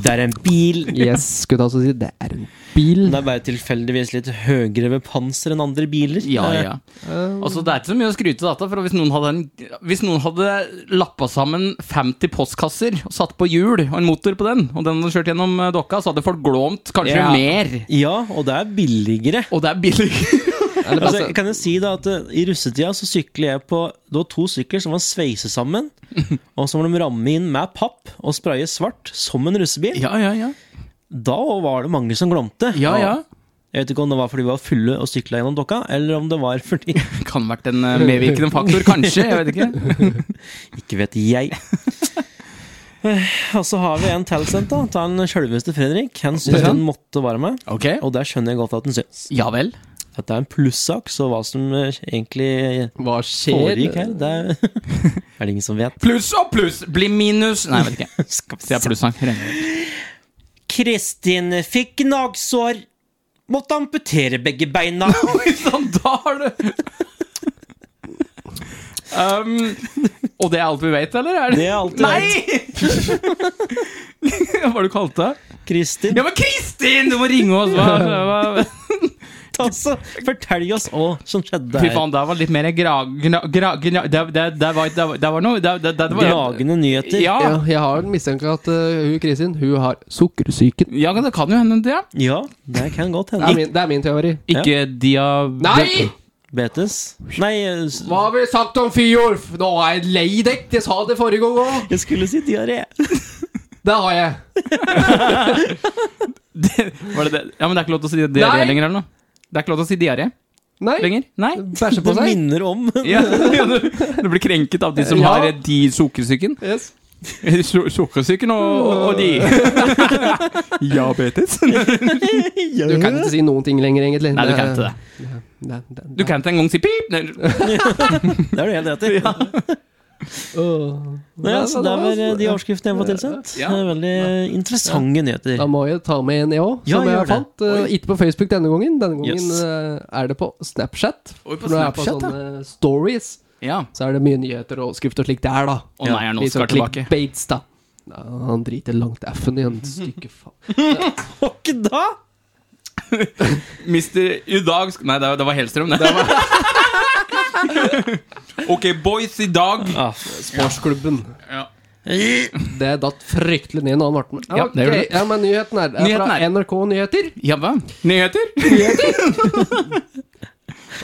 Det er en bil. Yes, skulle jeg altså si. Det er en bil. Det er bare tilfeldigvis litt høyere ved panser enn andre biler. Ja, ja. Eh, Altså, det er ikke så mye å skryte av dette, for hvis noen hadde, en, hvis noen hadde lappa sammen 50 postkasser og satt på hjul og en motor på den, og den hadde kjørt gjennom eh, dokka, så hadde folk glåmt kanskje Ja. mer. Ja, og det er billigere. Og det er billig. eller bare Altså, så- kan jeg si da at eh, I russetida så sykler jeg på Det var to sykler som var sveiset sammen. Og så må de ramme inn med papp og spraye svart som en russebil. Ja, ja, ja. Da var det mange som glomte. Ja, ja. Jeg vet ikke om det var fordi vi var fulle og sykla gjennom dokka, eller om det var fordi Kan vært en eh, medvirkende faktor, kanskje. Jeg vet ikke. Ikke vet jeg. Eh, Og så har vi en tilsendt, da. Ta den sjølveste Fredrik. Han syns Ja. den måtte være med. Ok. Og der skjønner jeg godt at den syns. Ja vel. At det er en plussak, så hva som eh, egentlig Hva skjer? foregikk her, det er, er det ingen som vet. Pluss og pluss blir minus. Nei, jeg vet ikke. Det er plussang. Kristin fikk gnagsår. Måtte amputere begge beina. Oi sann, Sånn, da har du um, Og det er alt vi vet, eller? Er Det er alt vi Nei! Hva var det du kalte det? Kristin, Ja, men Kristin! Du må ringe oss! Hva, hva? ta så altså, fortell oss hva som skjedde Fy her. faen, det var litt mer gra... gra, gra, gra det, det, det, var, det, var- det var noe det, det, det, det var, Dragende nyheter. Ja. Ja, jeg har en mistanke at eh, hun Kristin hun har sukkersyken. ja, det kan jo hende, det. Ja, det kan godt Det er hende. min, det er min teori. Ikke dia... Nei! Betes. Nei, s- Hva har vi sagt om Fjorf? Nå er jeg lei dekk. Jeg sa det forrige gang òg. jeg skulle si diaré. Det har jeg. Var det det? Ja, men det er ikke lov til å si diaré Nei! lenger, eller noe? Det er ikke lov til å si diaré. Nei! lenger. Nei. Bæsje på Det seg. minner om Ja, ja, du, du blir krenket av de som Ja. har eh, de sukkersyken. Yes. Su- Eh, Sukkersyken og, Mm, og, og de. Diabetes. Du kan ikke si noen ting lenger, egentlig. Nei, du kan ikke det. Nei, nei, nei. Du kan ikke engang si pip! Nei, Det er du helt rett i. Åh. Nei, altså, det var eh, de overskriftene jeg var tilsendt. Ja. Det er Veldig interessante nyheter. Da må jeg ta med en, jeg òg, Ja, som gjør jeg det. fant. eh, ikke på Facebook denne gangen. Denne gangen Yes. eh, er det på Snapchat. Oi, på For når jeg er Snapchat, på sånne stories, Ja. så er det mye nyheter og overskrifter og slikt der, da. Å nei, er det noen som skal tilbake? clickbaits, da. Ja, han driter langt F-en i en stykke faen. Og ikke da! Mister I dag sk- Nei, det var- det var Hellstrøm, det. ok, boys, i dag Ah, Sportsklubben. Ja. Det datt fryktelig ned når han ble med. Ja, det gjorde det. ok. ja, men nyheten er, er Nyheten fra er- NRK Nyheter, Ja, hva? Nyheter?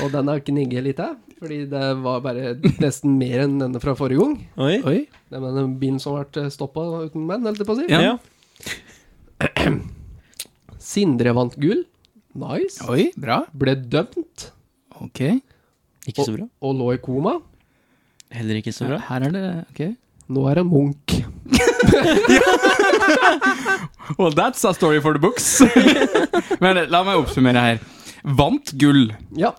og den har knigget litt av. Fordi det var bare nesten mer enn denne fra forrige gang. Oi. Oi. Det var den bilen som ble stoppa uten menn, holdt jeg på å si. Ja. Ja. Sindre vant gull. Nice. Oi, bra. Ble dømt Ok. Ikke så bra. og lå i koma. Heller ikke så bra. Her er det Ok. Nå er han Munch. Well, that's a story for the books. Men la meg oppsummere her. Vant gull. Ja,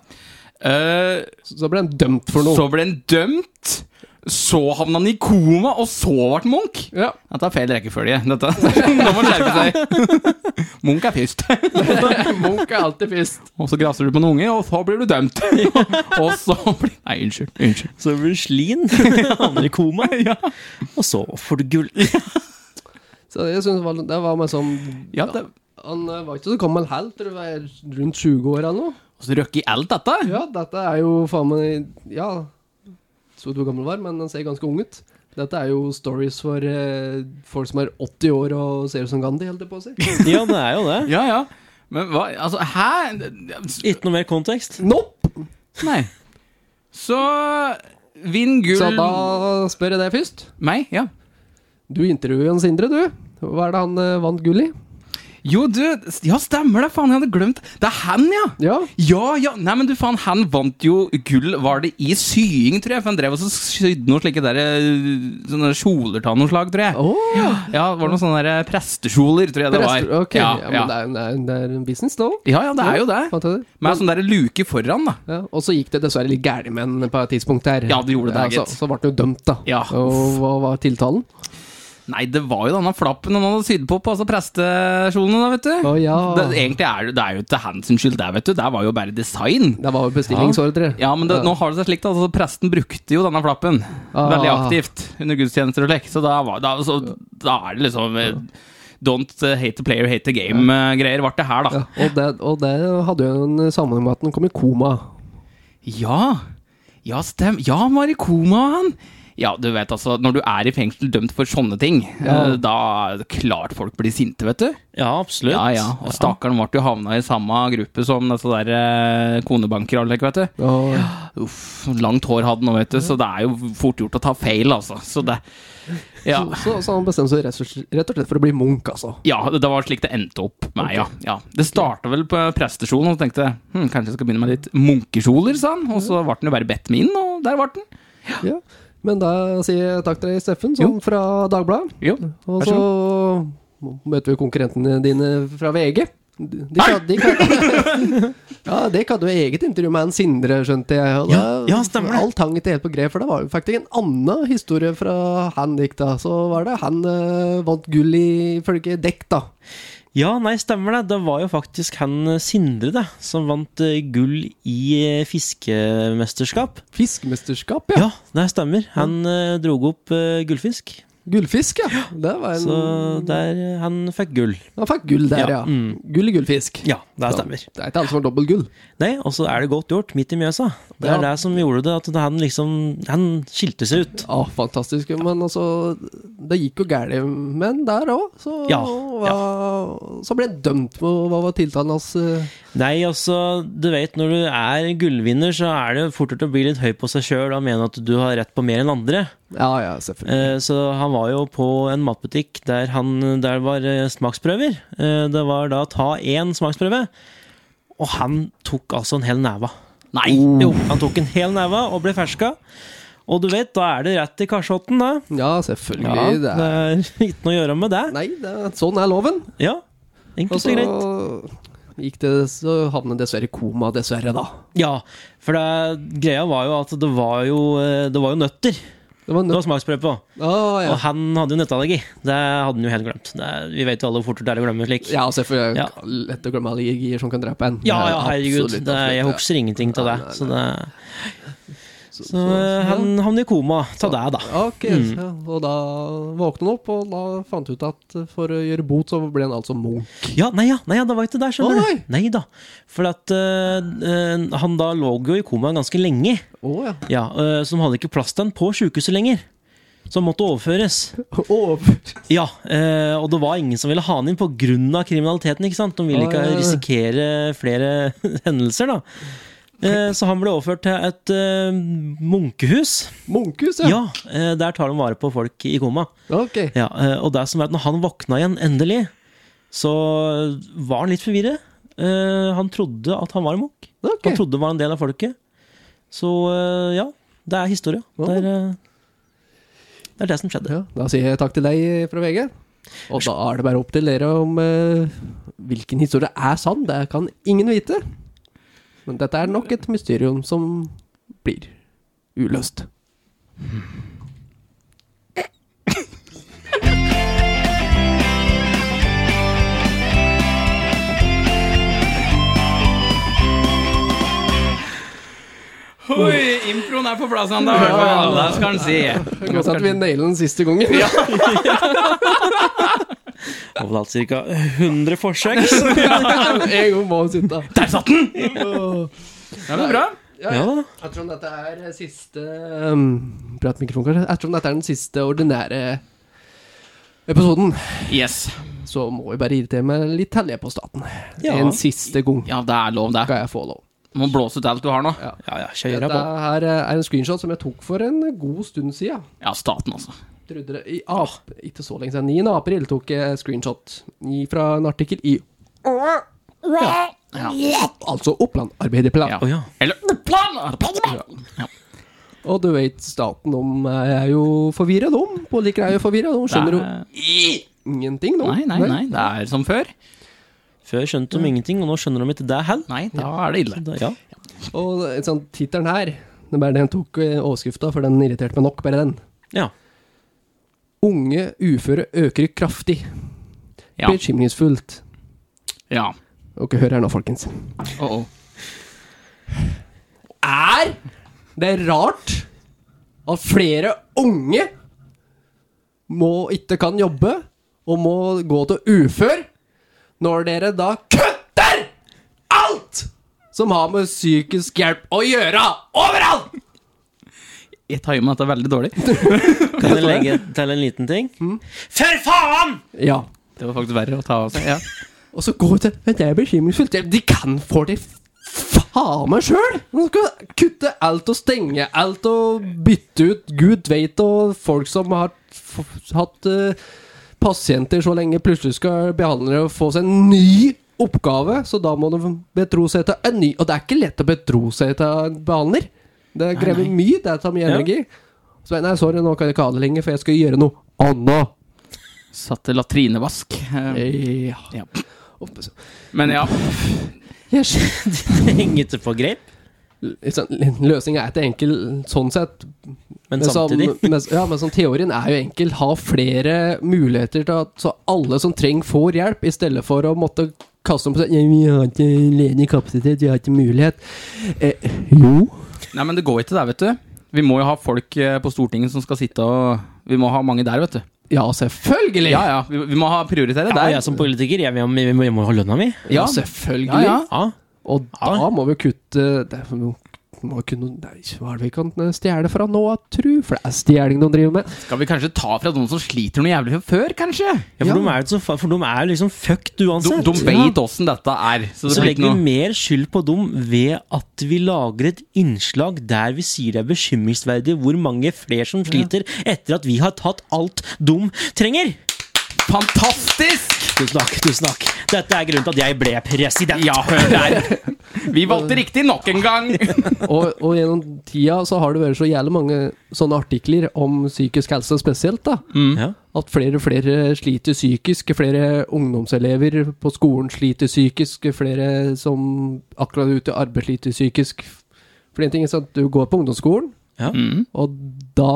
Eh, så så ble han dømt for noe. så ble han dømt. Så havna han i koma, og så ble han Munch. Ja. Dette er feil rekkefølge. Dette. Nå må han skjerpe seg. Munch er først. Munch er alltid først. Og så grafser du på noen unge, og så blir du dømt. og så blir Nei, unnskyld. Unnskyld. Så blir du slin, havner i koma, og så får du gull. Så jeg synes det var- det var meg som Ja, det Han eh, var ikke så gammel helt, tror jeg var rundt 20 år eller noe. Og så røkker i alt dette. Ja, dette er jo faen meg Ja, så hvor gammel han var, men han ser ganske ung ut. Dette er jo stories for eh, folk som er 80 år og ser ut som Gandhi, holdt jeg på å si. Ja, det er jo det. Ja, ja. Men hva Altså, hæ? Ikke noe mer kontekst. Nope! Nei. Så Vinn gull Så da spør jeg deg først. Meg? Ja. Du intervjuer Jan Sindre, du. Hva er det han eh, vant gull i? Jo, du, ja, stemmer det, faen, jeg hadde glemt. Det er han, ja! Ja. Ja, ja, nei, men du faen, han vant jo gull, var det i sying, tror jeg, for han drev også og sydde noen slike der, eh, sånne kjoler av noe slag, tror jeg. ja. Ja, det var noen sånne der eh, prestekjoler, tror jeg det var. Ok, ja, ja, men ja. det er, det, er, det er en business, da. ja, ja, det er jo det. Fant jeg det? Med sånn der luke foran, da. Ja, og så gikk det dessverre litt gærent med han på et tidspunkt her. Ja, det gjorde det, så, gitt. så ble han jo dømt, da. Ja. Og hva var tiltalen? Nei, det var jo denne flappen han hadde sydd på på altså prestekjolene, da, vet du. Å ja. det, egentlig er det, det er jo til hans skyld, det, vet du. Det var jo bare design. Det var jo bestillingsordre. Ja, men det, nå har det seg slik da, altså, presten brukte jo denne flappen Ah. veldig aktivt under gudstjenester og slik, så da, var, da, så, da er det liksom eh, Don't eh, hate the player, hate the game-greier ble det her, Ja, da. og, det, og det hadde jo en sammenheng med at han kom i koma. Ja, ja, stem. Ja, han var i koma, han. Ja, du vet altså, når du er i fengsel dømt for sånne ting, Ja. eh, da er det klart folk blir sinte, vet du. Ja, absolutt. Ja, ja. Og stakkaren ble jo havna i samme gruppe som disse der eh, konebanker og alt, vet du. Og, Uff, langt hår hadde nå, vet du, så det er jo fort gjort å ta feil, altså. Så det Ja, så, så, så han bestemte seg rett og slett- rett og slett for å bli Munch, altså. ja det det var slik det endte opp med, ja. ja. Det starta vel på prestesjolen, og så tenkte jeg hm, kanskje jeg skal begynne med litt munkekjoler, sa han. Og så ble den jo bare bedt med inn, og der ble den. Ja. Men da sier jeg takk til deg, Steffen, som fra Dagbladet. Jo. Og Vær så så møter vi konkurrentene dine fra VG. De, de, kan- de, kan- ja, de hadde jo eget intervju med en Sindre, skjønte jeg. Og Ja, ja, stemmer det. Alt hang ikke helt på grep, for det var jo faktisk en annen historie fra han gikk da. Så var det han eh, vant gull ifølge dekk, da. Ja, nei, stemmer det. Det var jo faktisk han eh, Sindre det, som vant eh, gull i eh, fiskemesterskap. Fiskemesterskap, Ja, ja. det stemmer. Han eh, drog opp eh, gullfisk, Gullfisk, ja. Det var en, så der eh, han fikk gull. Han fikk gull der, Ja, Mm. ja. Gull i gullfisk. Ja, det Så stemmer. Det er ikke alle som har dobbelt gull. Nei, og så er det godt gjort, midt i Mjøsa. Det er Ja. det som gjorde det, at det- han liksom Han skilte seg ut. Ja, fantastisk. Men altså, det gikk jo gærent med han der òg. Så, Ja, hva- så ble han dømt på hva var tiltalen hans. eh, Nei, altså, du vet når du er gullvinner, så er det jo fort gjort å bli litt høy på seg sjøl og mene at du har rett på mer enn andre. Ja, ja, selvfølgelig. Eh, Så han var jo på en matbutikk der, han, der var eh, smaksprøver. Eh, Det var da ta én smaksprøve, og han tok altså en hel neve. Nei! Jo, han tok en hel neve og ble ferska. Og du vet, da er det rett i kasjotten, da. Ja, selvfølgelig. det det er. er ikke noe å gjøre med det. Nei, det er, sånn er loven. Ja, Og enkelt så og greit. gikk det Så havnet dessverre i koma, dessverre, da. Ja, for det, greia var jo at det var jo, eh, det var jo nøtter. Det var Det var nødt smaksprøve på. ah, ja. Og han hadde jo nøtteallergi. Det hadde han jo helt glemt. Det, er- vi vet jo alle hvor fort det er å glemme slik. ja, selvfølgelig. Ja. Lett å glemme allergier som kan drepe en. Ja, Det er ja, herregud. absolutt, Det, er- jeg absolutt, husker ingenting av det. Nei, nei, Så, det, Så, så eh, han havnet i koma av det, da. Ja, Ok, Mm. ja. Og da våknet han opp, og da fant han ut at for å gjøre bot, så ble han altså munk. Ja, nei ja, nei ja, det var ikke der, skjønner Å, du. Nei da. For at eh, eh, han da lå jo i koma ganske lenge, Å ja. ja, eh, så de hadde ikke plass til han på sjukehuset lenger. Så han måtte overføres. Over. Ja, eh, og det var ingen som ville ha han inn pga. kriminaliteten. ikke sant? De ville Ah, ikke ja, ja. risikere flere hendelser, da. Eh, Så han ble overført til et eh, munkehus. Munkehus, ja. Ja, eh, Der tar de vare på folk i koma. Ok. Ja, eh, og det som er at når han våkna igjen, endelig, så var han litt forvirret. Eh, Han trodde at han var en munk. ok. Han trodde han var en del av folket. Så eh, ja, det er historie. Ja. Det er, eh, det er det som skjedde. Ja, da sier jeg takk til deg fra VG. Og da er det bare opp til dere om eh, hvilken historie er sann. Det kan ingen vite. Men dette er nok et mysterium som blir uløst. Oi, improen er på plass, han da. i hvert fall. Det skal han si. Godt at vi nailer den siste gangen. Overalt ca. 100 forsøk. en gang må vi sitte. Der satt den! Åh. Ja, men bra. Ja da. Ettersom dette er siste um, Prat mikrofon, kanskje. Ettersom dette er den siste ordinære episoden, Yes. så må vi bare irritere meg litt til jeg på staten. Ja. En siste gang Ja, det er lov, det. skal jeg få lov. Du må blåse ut alt du har nå. Ja, ja, kjører Dette på. her er en screenshot som jeg tok for en god stund siden. Ja, staten, altså. Trodde det- I ap, ikke så lenge siden. 9. april tok jeg screenshot i- fra en artikkel i Altså Oppland Arbeiderblad. Ja. Å ja. Eller Ja. Og du vet, staten de er jo forvirra, de. Politikere er jo forvirra. De skjønner jo ingenting, de. Nei, nei, nei. Det er som før. Før skjønte de ingenting, og nå skjønner de ikke det heller. Nei, da er det ille. Da- Ja. Og en sånn tittelen her, det er bare den tok eh, overskrifta, for den irriterte meg nok, bare den. ja. Unge uføre øker kraftig. Ja. Bekymringsfullt. ja. Ok, hør her nå, folkens. Oh, oh. er det er rart at flere unge må, ikke kan jobbe og må gå til ufør, når dere da kutter alt som har med psykisk hjelp å gjøre overalt! Jeg tar i meg dette veldig dårlig. Kan jeg legge til en liten ting? Mm. For faen! Ja. Det var faktisk verre å ta av seg. Ja. Og så går det Men det er bekymringsfullt. De kan få det faen meg sjøl! De skal kutte alt og stenge alt og bytte ut gud veit og folk som har f hatt eh, pasienter så lenge, plutselig skal behandlere få seg en ny oppgave, så da må de betro seg til en ny. Og det er ikke lett å betro seg til en behandler. Det krever mye. Det tar mye Ja. energi. Så nei, sorry, nå kan jeg ikke ha det lenger, for jeg skal gjøre noe annet. Satt til latrinevask. Eh, Ja. Ja. Men ja. Jeg skjønner. Det henger ikke på greip, Løsninga sånn, er ikke enkel sånn sett. men samtidig Som, men, ja, men som teorien er jo enkel. Ha flere muligheter til at så alle som trenger, får hjelp, i stedet for å måtte kaste om på seg «Ja, Vi har ikke ledig kapasitet, vi har ikke mulighet. Eh, jo. Nei, men det går ikke der, vet du. Vi må jo ha folk eh, på Stortinget som skal sitte og Vi må ha mange der, vet du. Ja, selvfølgelig. Ja, ja. Vi, vi må ha prioritere Ja, der. jeg som politiker, jeg, jeg, må- jeg, må- jeg må ha lønna mi. Ja. selvfølgelig. Ja, ja. Ja. Og da må vi kutte det er for noe- må vi kunne, nei, Hva er det vi kan stjele fra nå, tru? For det er stjeling de driver med. Skal vi kanskje ta fra noen som sliter noe jævlig fra før, kanskje? Ja, for, Ja. De er jo ikke så, fa- for de er liksom fucked De, uansett. de vet åssen dette er. Så det Så blir ikke legger vi noe mer skyld på dem ved at vi lager et innslag der vi sier det er bekymringsverdig hvor mange flere som sliter etter at vi har tatt alt de trenger. Fantastisk! Tusen takk. tusen takk Dette er grunnen til at jeg ble president. Ja, hør der. Vi valgte riktig nok en gang. Og, og gjennom tida så har det vært så jævlig mange sånne artikler om psykisk helse spesielt, da. Mm. Ja. At flere og flere sliter psykisk. Flere ungdomselever på skolen sliter psykisk. Flere som akkurat er ute i arbeid sliter psykisk. For en ting er sånn at du går på ungdomsskolen, Ja. Mm. og da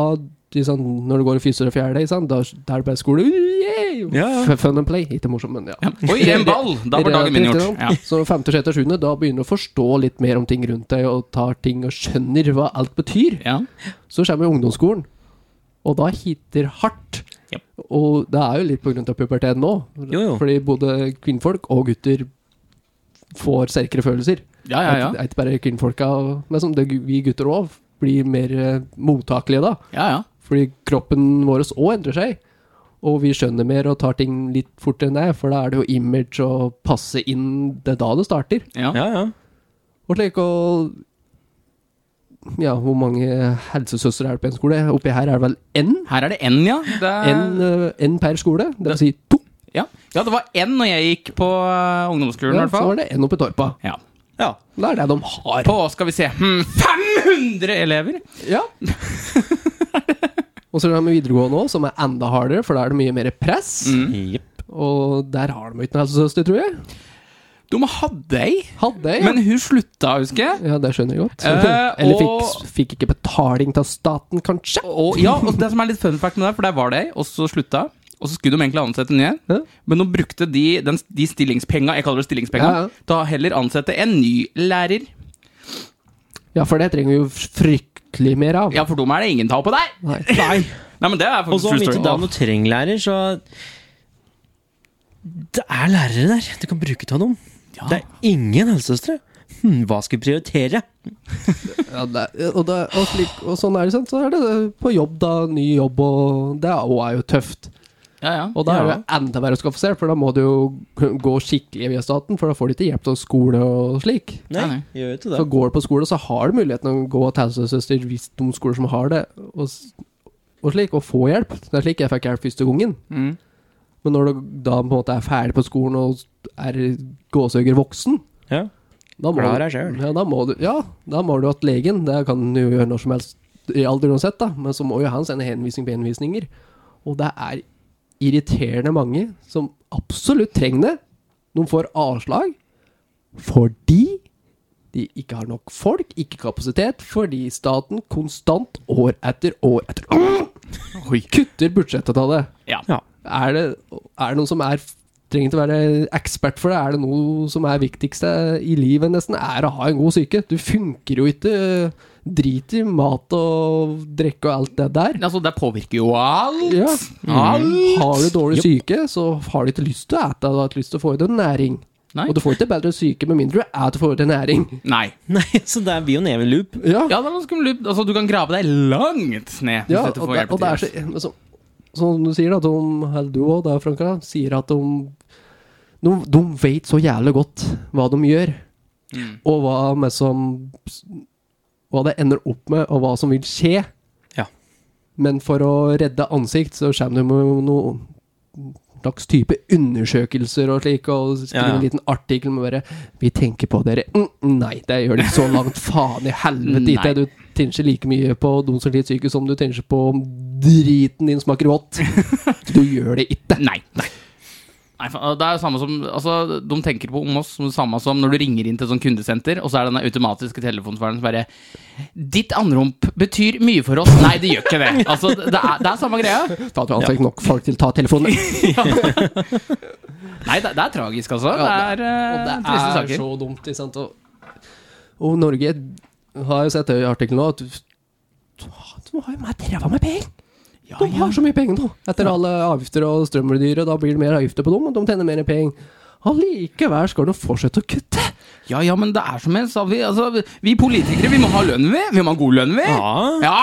liksom, Når du går i fysioterapi og fjerde, sant, da da er det bare skole. Yeah! Ja, ja. F- Fun and play. Ikke morsom, men ja. Oi, en ball! Da var dagen min gjort. Relativt, Ja. ikke sant? Så femte, sjette, sjuende, da begynner du å forstå litt mer om ting rundt deg, og tar ting og skjønner hva alt betyr. Ja. Så kommer jo ungdomsskolen, og da hiter hardt. Ja. Og det er jo litt pga. puberteten nå, Jo, jo. fordi både kvinnfolk og gutter får sterkere følelser. ja, ja, ja. Det er ikke bare kvinnfolka, men som det, vi gutter òg blir mer eh, mottakelige da. ja, ja. Fordi kroppen vår òg endrer seg. Og vi skjønner mer og tar ting litt fortere enn det, for da er det jo image og passe inn Det er da det starter. ja. ja, ja. Og slik og Ja, hvor mange helsesøstre er det på en skole? Oppi her er det vel én? Her er det N, ja. Det er, Én eh, én per skole? Det vil si to. ja. ja, det var N når jeg gikk på eh, ungdomsskolen, i Ja, hvert så fall. var det én oppi torpa. Ja. ja. Da er det de har. På, skal vi se, hmm, 500 elever! Ja. og så er det med videregående òg, som er enda hardere, for da er det mye mer press. Mm. Jepp. Og der har de ikke noen helsesøster, tror jeg. De hadde ei, Hadde jeg. men hun slutta, husker jeg. Ja, det skjønner jeg godt. Eh, Eller og- fikk, fikk ikke betaling av staten, kanskje? Og, ja, og det som er litt fun fact med det, for der var det ei, og så slutta. Og så skulle de egentlig ansette en ny, Ja. men de brukte de, den, de stillingspenga, jeg kaller det stillingspenga, Ja, ja. da heller ansette en ny lærer. Ja, for det trenger vi jo fryktelig mer av. Ja, for dem er det ingen tall på der! Nei. Nei, men det er Og så om faktisk true ikke story. da du trenger lærer, så Det er lærere der. Du kan bruke av dem. Det er ingen helsesøstre. Hm, hva skal vi prioritere? Ja, det, og, det, og, slik, og sånn er det, sant. Så er det på jobb, da. Ny jobb, og det er, og er jo tøft. Ja, ja. Og da er det ja. jo enda verre å skaffe seg, for da må du jo gå skikkelig via staten, for da får de ikke hjelp av skole og slik. Nei, Nei, nei. gjør jo ikke Så det. går du på skole, så har du muligheten å gå til helsesøster hvis de skoler som har det, og, s- og slik, og få hjelp. Det er slik jeg fikk hjelp første gangen. Mm. Men når du da på en måte er ferdig på skolen og er gåsehugger voksen Ja. da må, Klar du- deg selv. Ja, da må du Ja, da må du at legen Det kan du gjøre når som helst i alder uansett, da. Men så må jo han sende henvisning på henvisninger. Og det er irriterende mange som absolutt trenger det. De får avslag fordi de ikke har nok folk, ikke kapasitet, fordi staten konstant år etter år etter år Oi. kutter budsjettet av det. Ja. Ja. Er det, er det noen som er trenger ikke å være ekspert for det. Er det noe som er viktigste i livet, nesten, er å ha en god psyke? Du funker jo ikke. eh, Drit i mat og drikke og alt det der. Altså, det påvirker jo alt! Ja. Mm. Alt! Har du dårlig syke, så har du ikke lyst til å ete. Du har ikke lyst til å få i deg næring. Nei. Og du får ikke bedre syke med mindre du eter for deg næring. Nei. Nei, så det blir jo en evig loop. Ja, Ja, det er noe skummelt. Altså, du kan grave deg langt ned hvis Ja, dette og, får det, hjelp altså. og det er så, men så Som du sier, da, de, eller du òg, Franka, sier at de, de De vet så jævlig godt hva de gjør, Mm. og hva med som Hva det ender opp med, og hva som vil skje. Ja. Men for å redde ansikt, så kommer du med noen slags type undersøkelser og slik, og skriver Ja, ja. en liten artikkel med bare 'Vi tenker på dere'. Mm, nei, det gjør det ikke så langt. Faen i helvete. Nei. Ikke. Du tenker like mye på de som sliter psykisk, som du tenker på om driten din smaker vått. Du gjør det ikke. Nei. nei. Nei, fa- det er jo samme som, altså, De tenker på om oss som det samme som når du ringer inn til et sånt kundesenter, og så er det den automatiske telefonsvareren som bare 'Ditt andrump betyr mye for oss.' Nei, det gjør ikke det. Altså, det, er, det er samme greia. Da hadde vi antatt nok folk til å ta telefonen. Nei, det, det er tragisk, altså. Det Ja, er, eh, Og det triste er saker. så dumt, ikke sant. Og, og Norge har jo sett det i artikkelen nå, at du, du har jo mer ræva med penger. De har så mye penger nå. Etter alle avgifter og strømdyre, da blir det mer avgifter på dem, og de tjener mer penger. Allikevel skal de fortsette å kutte. Ja, ja, men det er som en sa vi, altså, vi politikere, vi må ha lønn, vi. Vi må ha god lønn, vi. Ja. Ja!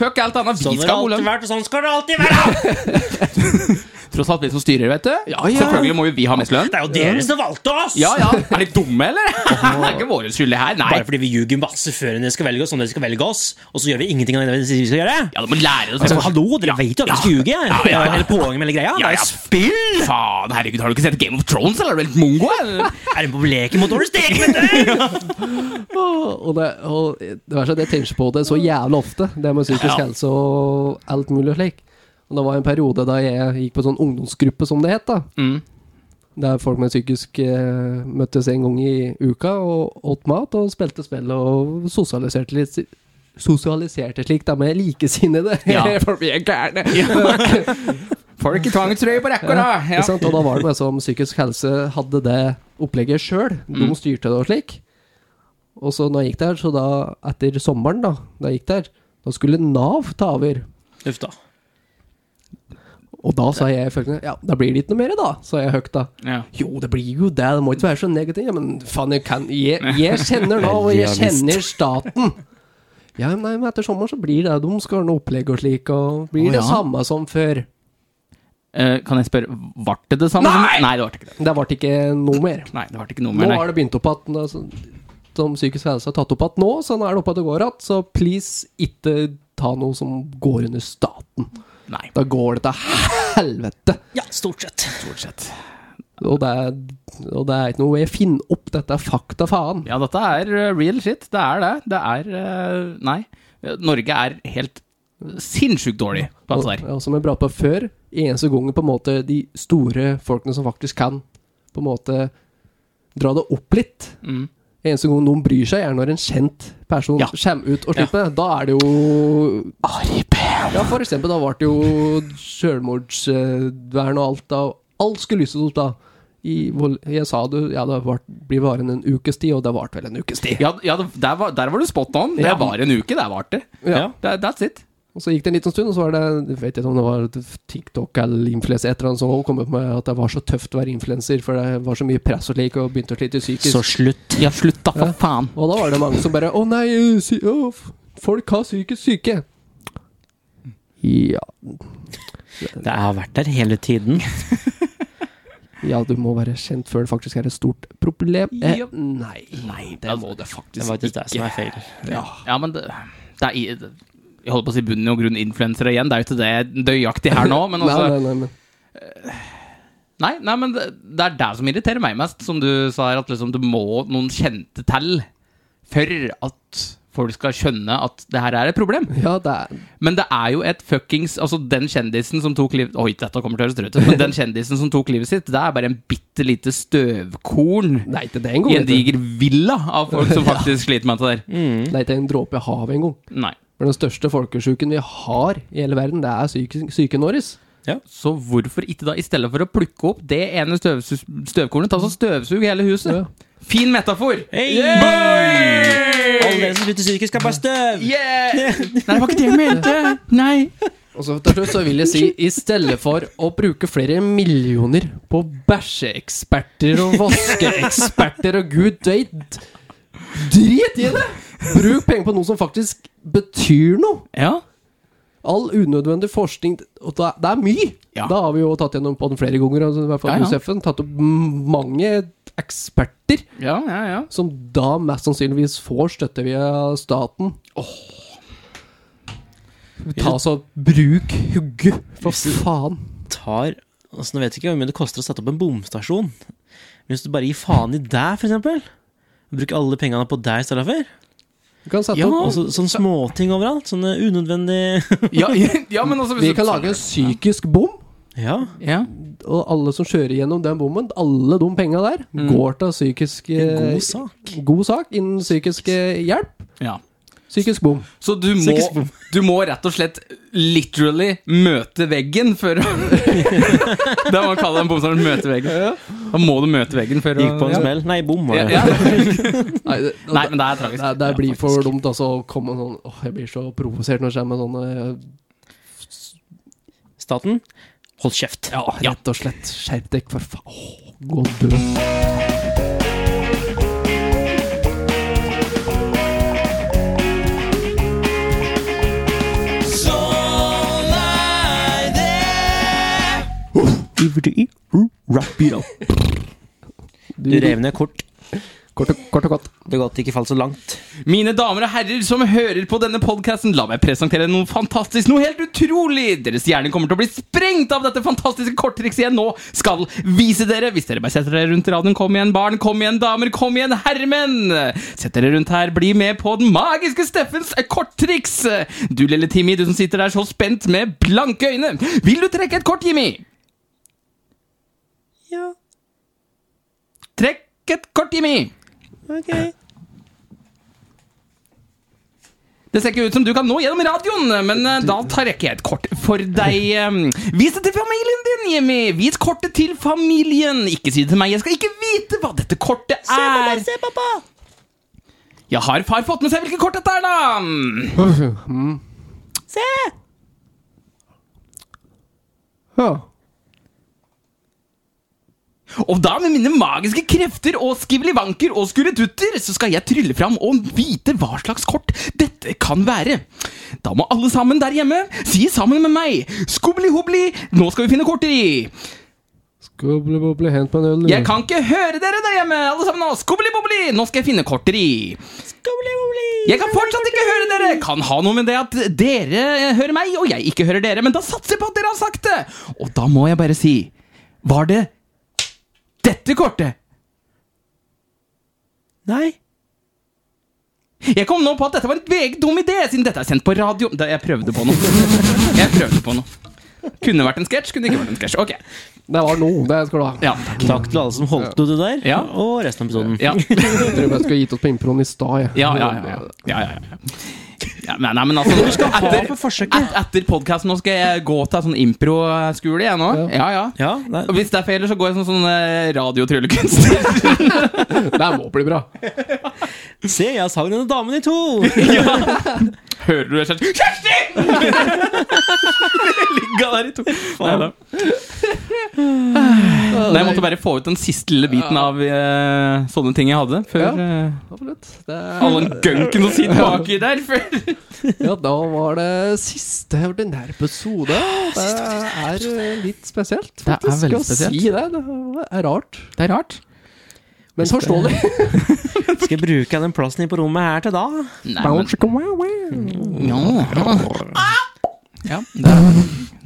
Fuck alt annet. Vi Sånn har skal det ha god alltid lønn. vært, og sånn skal det alltid være! tross alt vi som styrer, vet du. Ja, ja. Selvfølgelig må jo vi ha mest lønn. Det er jo dere som valgte oss! Ja, ja. Er de dumme, eller? det er ikke vår skyld, det her. Nei. Bare fordi vi ljuger masse før dere skal velge oss, om dere skal velge oss, og så gjør vi ingenting av det vi sier vi skal gjøre. Ja, du må lære deg å Altså, se på hallo, dere vet jo at vi skal ljuge. Det er jo hele poenget med hele greia. Ja, Det er ja. jo spill! Faen, herregud, har du ikke sett Game of Thrones, eller? Er du helt mongo, eller? Er det på leken mot Doris Degmenter? Og det, og det verste er at jeg tenker på det så jævla ofte, det med psykisk Ja. helse og alt mulig slik. Og det var en periode da jeg gikk på sånn ungdomsgruppe, som det het. da Mm. Der folk med psykisk eh, møttes en gang i uka og åt mat og spilte spill og sosialiserte litt. si- Sosialiserte slik, da, med likesinnede. Ja. folk blir gærne. Folk i tvangstrøye på rekke, da. Ikke sant? Og da var det bare som psykisk helse hadde det opplegget sjøl. De Mm. styrte det og slik. Og så når jeg gikk der, så da etter sommeren, da, da jeg gikk der, da skulle Nav ta over. Uff da. Og da sa jeg følgende Ja, da blir det ikke noe mer, da, sa jeg høyt da. Ja. Jo, det blir jo det, det må ikke være så negativt. Ja, men faen, jeg kan Jeg, jeg kjenner Nav, og jeg Realist. kjenner staten. Ja, nei, men etter sommeren så blir det De skal ordne opplegg og slik, og blir Å, det ja. samme som før. Eh, kan jeg spørre, ble det det samme? Nei! Nei, det ble ikke det. Det ble ikke noe mer. Nei, det ble ikke noe Nå mer, nei. har det begynt opp at altså, Som psykisk helse har tatt opp at nå, så nå er det opp at det går at Så please, ikke ta noe som går under staten. Nei, Da går det til helvete. Ja, stort sett. stort sett. Og det, er, og det er ikke noe jeg finner opp. Dette er fakta, faen. Ja, dette er eh, real shit. Det er det. Det er eh, Nei. Norge er helt sinnssykt dårlig på Og, alt det der. og som jeg pratet på før, eneste gangen på en måte de store folkene som faktisk kan på en måte dra det opp litt Mm. Eneste gang noen bryr seg, er når en kjent person Ja. kommer ut og slipper. Da er det jo Ja, for eksempel, da ble det jo selvmordsvern og alt da. Alt skulle lyses opp da. I, vold- jeg sa det, ja, det vart- blir bare en ukes tid, og det varte vel en ukes tid. Ja, ja det- der, var, der var du spot on. Det Ja. var en uke, der varte det. Ja. Det- That's it. Og så gikk det en liten stund, og så var det, jeg vet ikke om det var TikTok eller influenser et eller annet som også kom opp med at det var så tøft å være influenser, for det var så mye press og slik, og begynte å slite psykisk. Så slutt. Ja, slutt da, for Ja. faen. Og da var det mange som bare Å nei, sy å, f- folk har psykisk syke. Ja, Det har vært der hele tiden. ja, du må være kjent før det faktisk er et stort problem. Eh, Japp. nei, nei, det må det Det faktisk var faktisk det som er feil. Ja. Ja, men det, det er i- det- Jeg holder på å si bunnen og grunn influensere igjen. Det er jo ikke det nøyaktig her nå, men altså nei, nei, nei, men Nei, nei, men det, det er det som irriterer meg mest, som du sa her, at liksom du må noen kjente til for at folk skal skjønne at det her er et problem. Ja, det er Men det er jo et fuckings Altså, den kjendisen som tok livet Oi, dette kommer til å høres drøyt ut, men den kjendisen som tok livet sitt, det er bare en bitte lite støvkorn Nei, ikke det engang. i en diger villa av folk som faktisk sliter med det der. Nei, ikke en dråpe i havet engang. Nei. For den største folkesjuken vi har i hele verden, det er psyken, psyken vår. Så hvorfor ikke da, i stedet for å plukke opp det ene støvsu- støvkornet, ta så støvsug hele huset? Ja. Fin metafor! Hey! Yay! Alle dere som slutter psykisk, er bare støv! Yeah! Nei, det var ikke det jeg mente! Nei. Og så til slutt så vil jeg si, i stedet for å bruke flere millioner på bæsjeeksperter og vaskeeksperter og gud veit Drit i det! Bruk penger på noe som faktisk betyr noe. Ja. All unødvendig forskning og da, Det er mye! Ja. Da har vi jo tatt gjennom på den flere ganger. Altså, I hvert fall Ja, ja. Josefen. Tatt opp mange eksperter. Ja, ja, ja. som da mest sannsynligvis får støtte via staten. Ta så Bruk hugget, for faen. Tar altså, Nå vet jeg ikke hvor mye det koster å sette opp en bomstasjon. Men hvis du bare gir faen i deg, for eksempel Bruke alle pengene på deg i stedet for. Du kan sette Ja, opp. altså, sånne småting overalt. Sånne unødvendige ja, ja men altså hvis Vi du- kan lage en psykisk bom, Ja. ja. og alle som kjører gjennom den bommen, alle de penga der, går til psykisk eh, En god sak. god sak innen psykisk eh, hjelp. ja. Psykisk bom. Så du må, Psykisk bom. du må rett og slett literally møte veggen før å Det er hva man kaller en bomstasjon. Møte veggen. Da må du møte veggen før å Gikk på en smell. Nei, bom var Ja, det. ja. Nei, det, Nei, men det er tragisk. det, det blir for dumt altså, å komme sånn Åh, jeg blir så provosert når det kommer sånne eh, Staten, hold kjeft. Ja, rett og slett. Skjerp dere, for faen. Åh, gå og dø. spyr alt. Du rev ned kort. Kort og, kort og godt. Det er godt ikke falt så langt. Mine damer og herrer som hører på denne podcasten, la meg presentere noe fantastisk, noe helt utrolig! Deres hjerne kommer til å bli sprengt av dette fantastiske korttrikset jeg nå skal vise dere! Hvis dere bare setter dere rundt radioen, kom igjen barn, kom igjen damer, kom igjen herremenn! Sett dere rundt her, bli med på den magiske Steffens korttriks! Du lille Timmy, du som sitter der så spent med blanke øyne, vil du trekke et kort, Jimmy? Ja, Trekk et kort, Jimmy! ok. Det ser ikke ut som du kan nå gjennom radioen, men eh, da tar jeg ikke jeg et kort for deg. eh. Vis det til familien din, Jimmy! Vis kortet til familien! Ikke si det til meg, jeg skal ikke vite hva dette kortet er! se, pappa! Jeg har far fått med seg hvilket kort dette er, da! Se! Ja. Og da, med mine magiske krefter og skivelivanker og skurretutter, så skal jeg trylle fram og vite hva slags kort dette kan være. Da må alle sammen der hjemme si sammen med meg Skubbeli-hubbeli, nå skal vi finne korter i! Skubble-boble, hent meg en øl. du. Jeg kan ikke høre dere der hjemme, alle sammen nå. Skubbeli-bobbeli! Nå skal jeg finne korter i. Jeg kan fortsatt ikke høre dere! Kan ha noe med det at dere hører meg, og jeg ikke hører dere, men da satser jeg på at dere har sagt det! Og da må jeg bare si Var det dette kortet? Nei. Jeg kom nå på at dette var en meget dum idé, siden dette er sendt på radio Da, Jeg prøvde på noe. Jeg prøvde på noe. Kunne vært en sketsj, kunne ikke vært en sketsj. Ok. Det var noe. Det skal du ha. Ja, takk. Takk til alle som holdt ut det der, Ja. og resten av episoden. Ja. Jeg tror jeg skulle gitt oss på improen i stad. jeg. Ja, ja, ja. ja, ja, ja. ja nei, nei, men altså Hvor skal Hva for forsøket? Et, etter podkasten nå skal jeg gå til en sånn impro-skole, jeg nå. Ja, ja. Ja, nei. Og hvis det er feil, så går jeg som sånn eh, radiotryllekunstner. Det her må bli bra. Se, jeg sang denne damen i to! Hører du det selv? Kjersti! Ligga der i to. Nei da. Nei, jeg måtte bare få ut den siste lille biten av eh, sånne ting jeg hadde. Før Ja. eh, Absolutt. Det er... all den gunken som sitter baki der. Før. Ja, da var det siste ordinære episode. Det er eh, litt spesielt, er faktisk. veldig å si det. Det er rart, Det er rart. men forståelig. Skal jeg bruke den plassen på rommet her til da? Nei, men Ja. ja det er,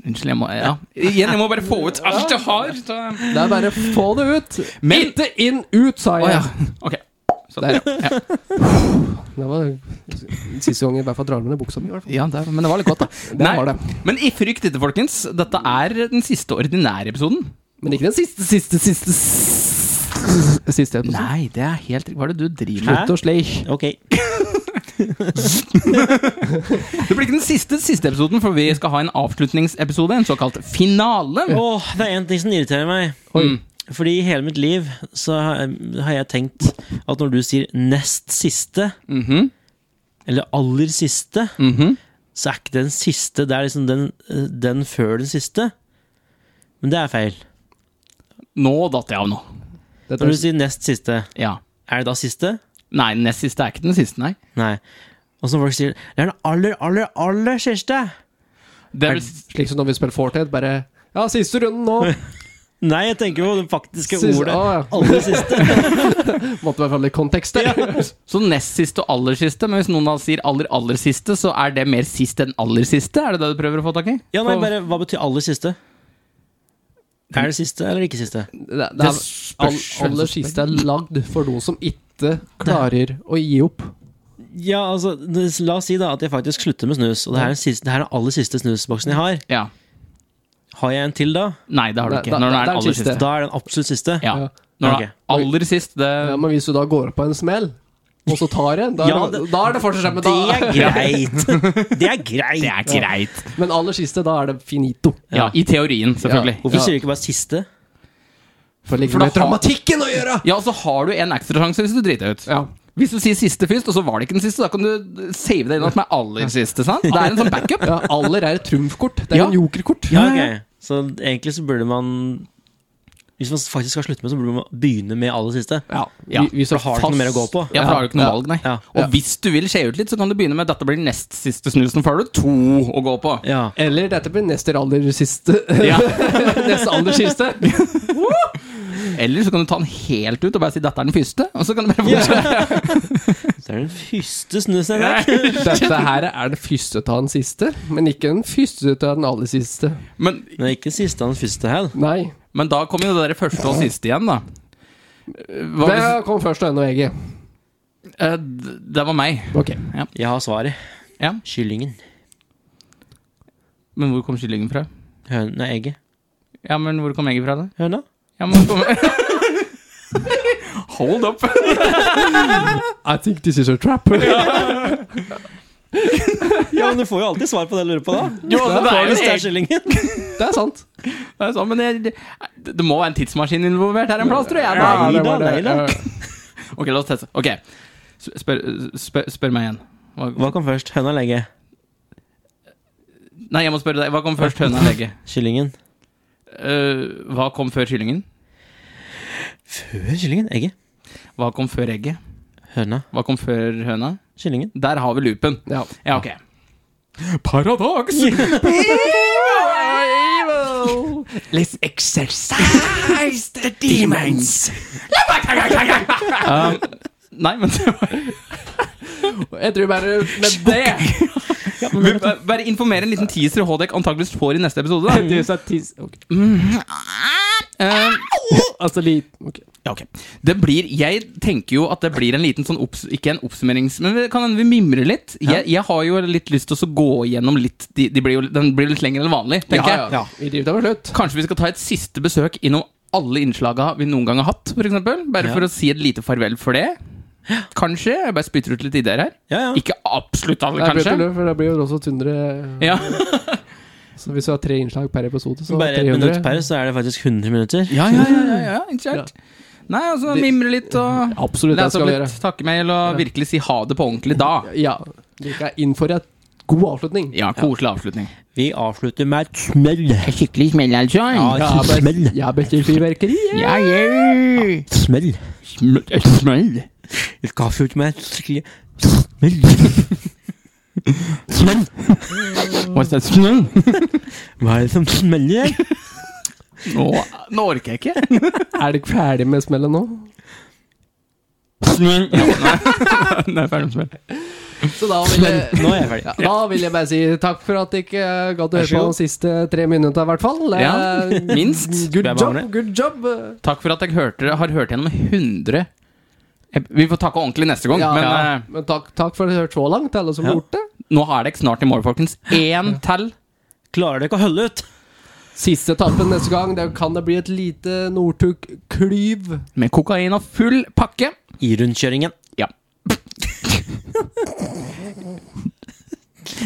unnskyld, jeg må ja. Igjen, jeg må bare få ut alt jeg har. Så. Det er bare få det ut. Men Ikke inn, ut, sa Å ja. jeg. Ok. Så, Der, ja. Det var siste gang jeg i hvert fall drar ned buksa mi. i hvert fall. Ja, det, men det var litt godt, da. Det var det. Men i frykt ikke, folkens. Dette er den siste ordinære episoden. Men ikke den siste, siste, siste s- Siste episoden. Nei, det er helt Hva er det du driver med? Hæ? Slutt å sleik. Ok. Det blir ikke den siste siste episoden, for vi skal ha en avslutningsepisode. En såkalt finale. Åh, det er en ting som irriterer meg. Mm. Fordi i hele mitt liv så har har jeg tenkt at når du sier nest siste, Mhm, eller aller siste, mhm. så er ikke den siste, det er liksom den, eh, den før den siste. Men det er feil. Nå datt jeg av nå. Dette Når du er sier nest siste, Ja. er det da siste? Nei, den nest siste er ikke den siste, nei. Nei. Og som folk sier, det er den aller, aller, aller siste. Det er, vel- slik som når vi spiller Fortnite. Bare Ja, siste runden nå. Nei, jeg tenker jo det faktiske Siste- ordet. Å, ja. Aller siste. Måtte i hvert fall litt kontekst der. så nest siste og aller siste, men hvis noen da sier aller, aller siste, så er det mer sist enn aller siste? Er det det du prøver å få tak i? Ja, nei, For- bare, hva betyr aller siste? Er det siste eller ikke siste? Det, det er, all, spørs- aller siste er lagd for noen som ikke klarer å gi opp. Ja, altså, det- La oss si da at jeg faktisk slutter med snus, og det her er den, siste, det her er den aller siste snusboksen jeg har. Ja. Har jeg en til da? Nei, det har du Det- ikke. det- Når den er det er aller siste. siste. Da er det den absolutt siste. Ja. Ja. Når Ok. det er aller sist, det Ja, Eh, men hvis du da går på en smell, og så tar en, da, Ja, er det, det- da er det fortsatt skjemme. Det er Da. greit! Det er greit! Det er greit. Men aller siste, da er det finito. Ja, I teorien, selvfølgelig. Hvorfor Ja. sier du ikke bare siste? For det ligger For da med har- dramatikken å gjøre! Ja, og så har du en ekstrasjanse hvis du driter deg ut. Ja. Hvis du sier siste først, og så var det ikke den siste, da kan du save deg inn at den er aller siste. sant? Det er en sånn backup. ja, aller er et trumfkort. Det er Ja. en jokerkort. Ja, ok. Så egentlig så burde man Hvis man faktisk skal slutte med, så burde man begynne med aller siste. Ja. Ja. Vi, vi For da står har du ikke noe mer å gå på. Ja, for da har du ikke noe valg, nei. Ja. Og hvis du vil skje ut litt, så kan du begynne med 'dette blir nest siste snusen', for da har du to å gå på. Ja. Eller dette blir neste aller siste. Ja. neste aller siste. Eller så kan du ta den helt ut og bare si 'dette er den første', og så kan du bare fortsette. Det er den første snusen jeg har drukket. Dette her er den første av den siste, men ikke den første av den aller siste. Men, Men det er ikke den siste av den første her. da. Nei. men da kommer jo det der første og siste igjen, da. Hva Det hvis, kom først og egget. eh, d- det var meg. Ok. Jeg har svaret. Ja. Kyllingen. Men hvor kom kyllingen fra? Høne Nei, egget. Ja, men hvor kom egget fra, da? Høna? Ja, men hvor kom... Hold up! I think this is a trap. Ja, men du får jo alltid svar på det jeg lurer på, da. Jo, altså, det er jo Hvis det er egg. kyllingen. Det er sant. Det er sånn, men det, det, det må være en tidsmaskin involvert her en plass, tror jeg. Ja. Da. Nei da, var nei da. Eh, Ok, la oss teste. Ok, S- spør, spør, spør meg igjen. Hva, Hva kom først? Høna eller egget? Nei, jeg må spørre deg. Hva kom først, høna eller egget? Kyllingen. Eh, hva kom før kyllingen? Før kyllingen? Egget. Hva kom før egget? Høna. Hva kom før høna? Kyllingen. Der har vi loopen. Ja. Ja, ok. Paradoks! Let's exercise the demons! um, nei, men det var Jeg tror bare med det Vi ba- Bare informere en liten teaser Hådek antakeligvis får i neste episode. Da. Du sa tis... Ok. Eh, Altså lit... Ok. ja, ok. Det blir Jeg tenker jo at det blir en liten sånn opps, Ikke en oppsummerings... Men det kan hende vi mimrer litt. Jeg, jeg har jo litt lyst til å så gå igjennom litt de, de blir jo, Den blir litt lenger enn vanlig, tenker Ja, jeg. ja. Vi driver da med slutt. Kanskje vi skal ta et siste besøk innom alle innslaga vi noen gang har hatt, for eksempel Bare Ja. for å si et lite farvel for det. Kanskje. Jeg bare spytter ut litt ideer her. Ja, ja. Ikke absolutt alle, Nei, Bjørte kanskje. Løv, for det blir jo også 100 Ja. Så hvis vi har tre innslag per episode, så Bare et 300. minutt per, så er det faktisk 100 minutter. Ja, ja, ja, ja, ja, ikke sant? Nei, altså Det- mimre litt og Absolutt, det lese skal opp vi gjøre. litt takkemail og virkelig si ha det på ordentlig da. Ja. Like er inn for en god avslutning. Ja, koselig avslutning. Vi avslutter med et smell. Skikkelig smell, altså. Ja, Jeg et smell. bet- jeg bestiller fyrverkeri. Ja, ja. Et smell. Smell. Et kaffehjort med et skikkelig smell. Smell. What's that smell? Hva er det som smeller? her? Nå, nå orker jeg ikke. Er dere ferdig med smellet nå? Smell. Nå er jeg ferdig med smell. Så da vil jeg, Nå er jeg ferdig. ja, da vil jeg bare si takk for at dere ikke eh, gadd å Vær så høre på god. de siste tre minuttene, i hvert fall. Eh, Ja, minst. Good Jeg job. mangler. good job Takk for at jeg hørte, har hørt gjennom 100 Ep- Vi får takke ordentlig neste gang, Ja, men ja. eh, Men takk, takk for at dere hørte så langt, alle som har Ja. gjort det. nå har dere snart i mål, folkens. Én til. Klarer dere ikke å holde ut? Siste etappen neste gang, der kan det bli et lite Northug-klyv. Med kokain og full pakke. I rundkjøringen. Ja.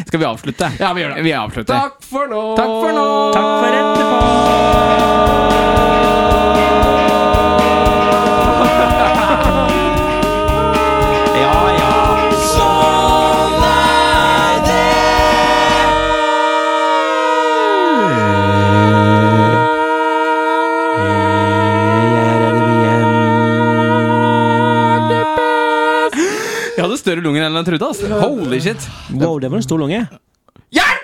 Skal vi avslutte? Ja, vi gjør det. Vi avslutter. Takk for nå! Takk for nå! Takk for etterpå. Ja, ja. Sånn er det. altså. Jeg hadde større lunger enn jeg trodde. ass. Holy shit. Wow, det var en stor lunge. Jeg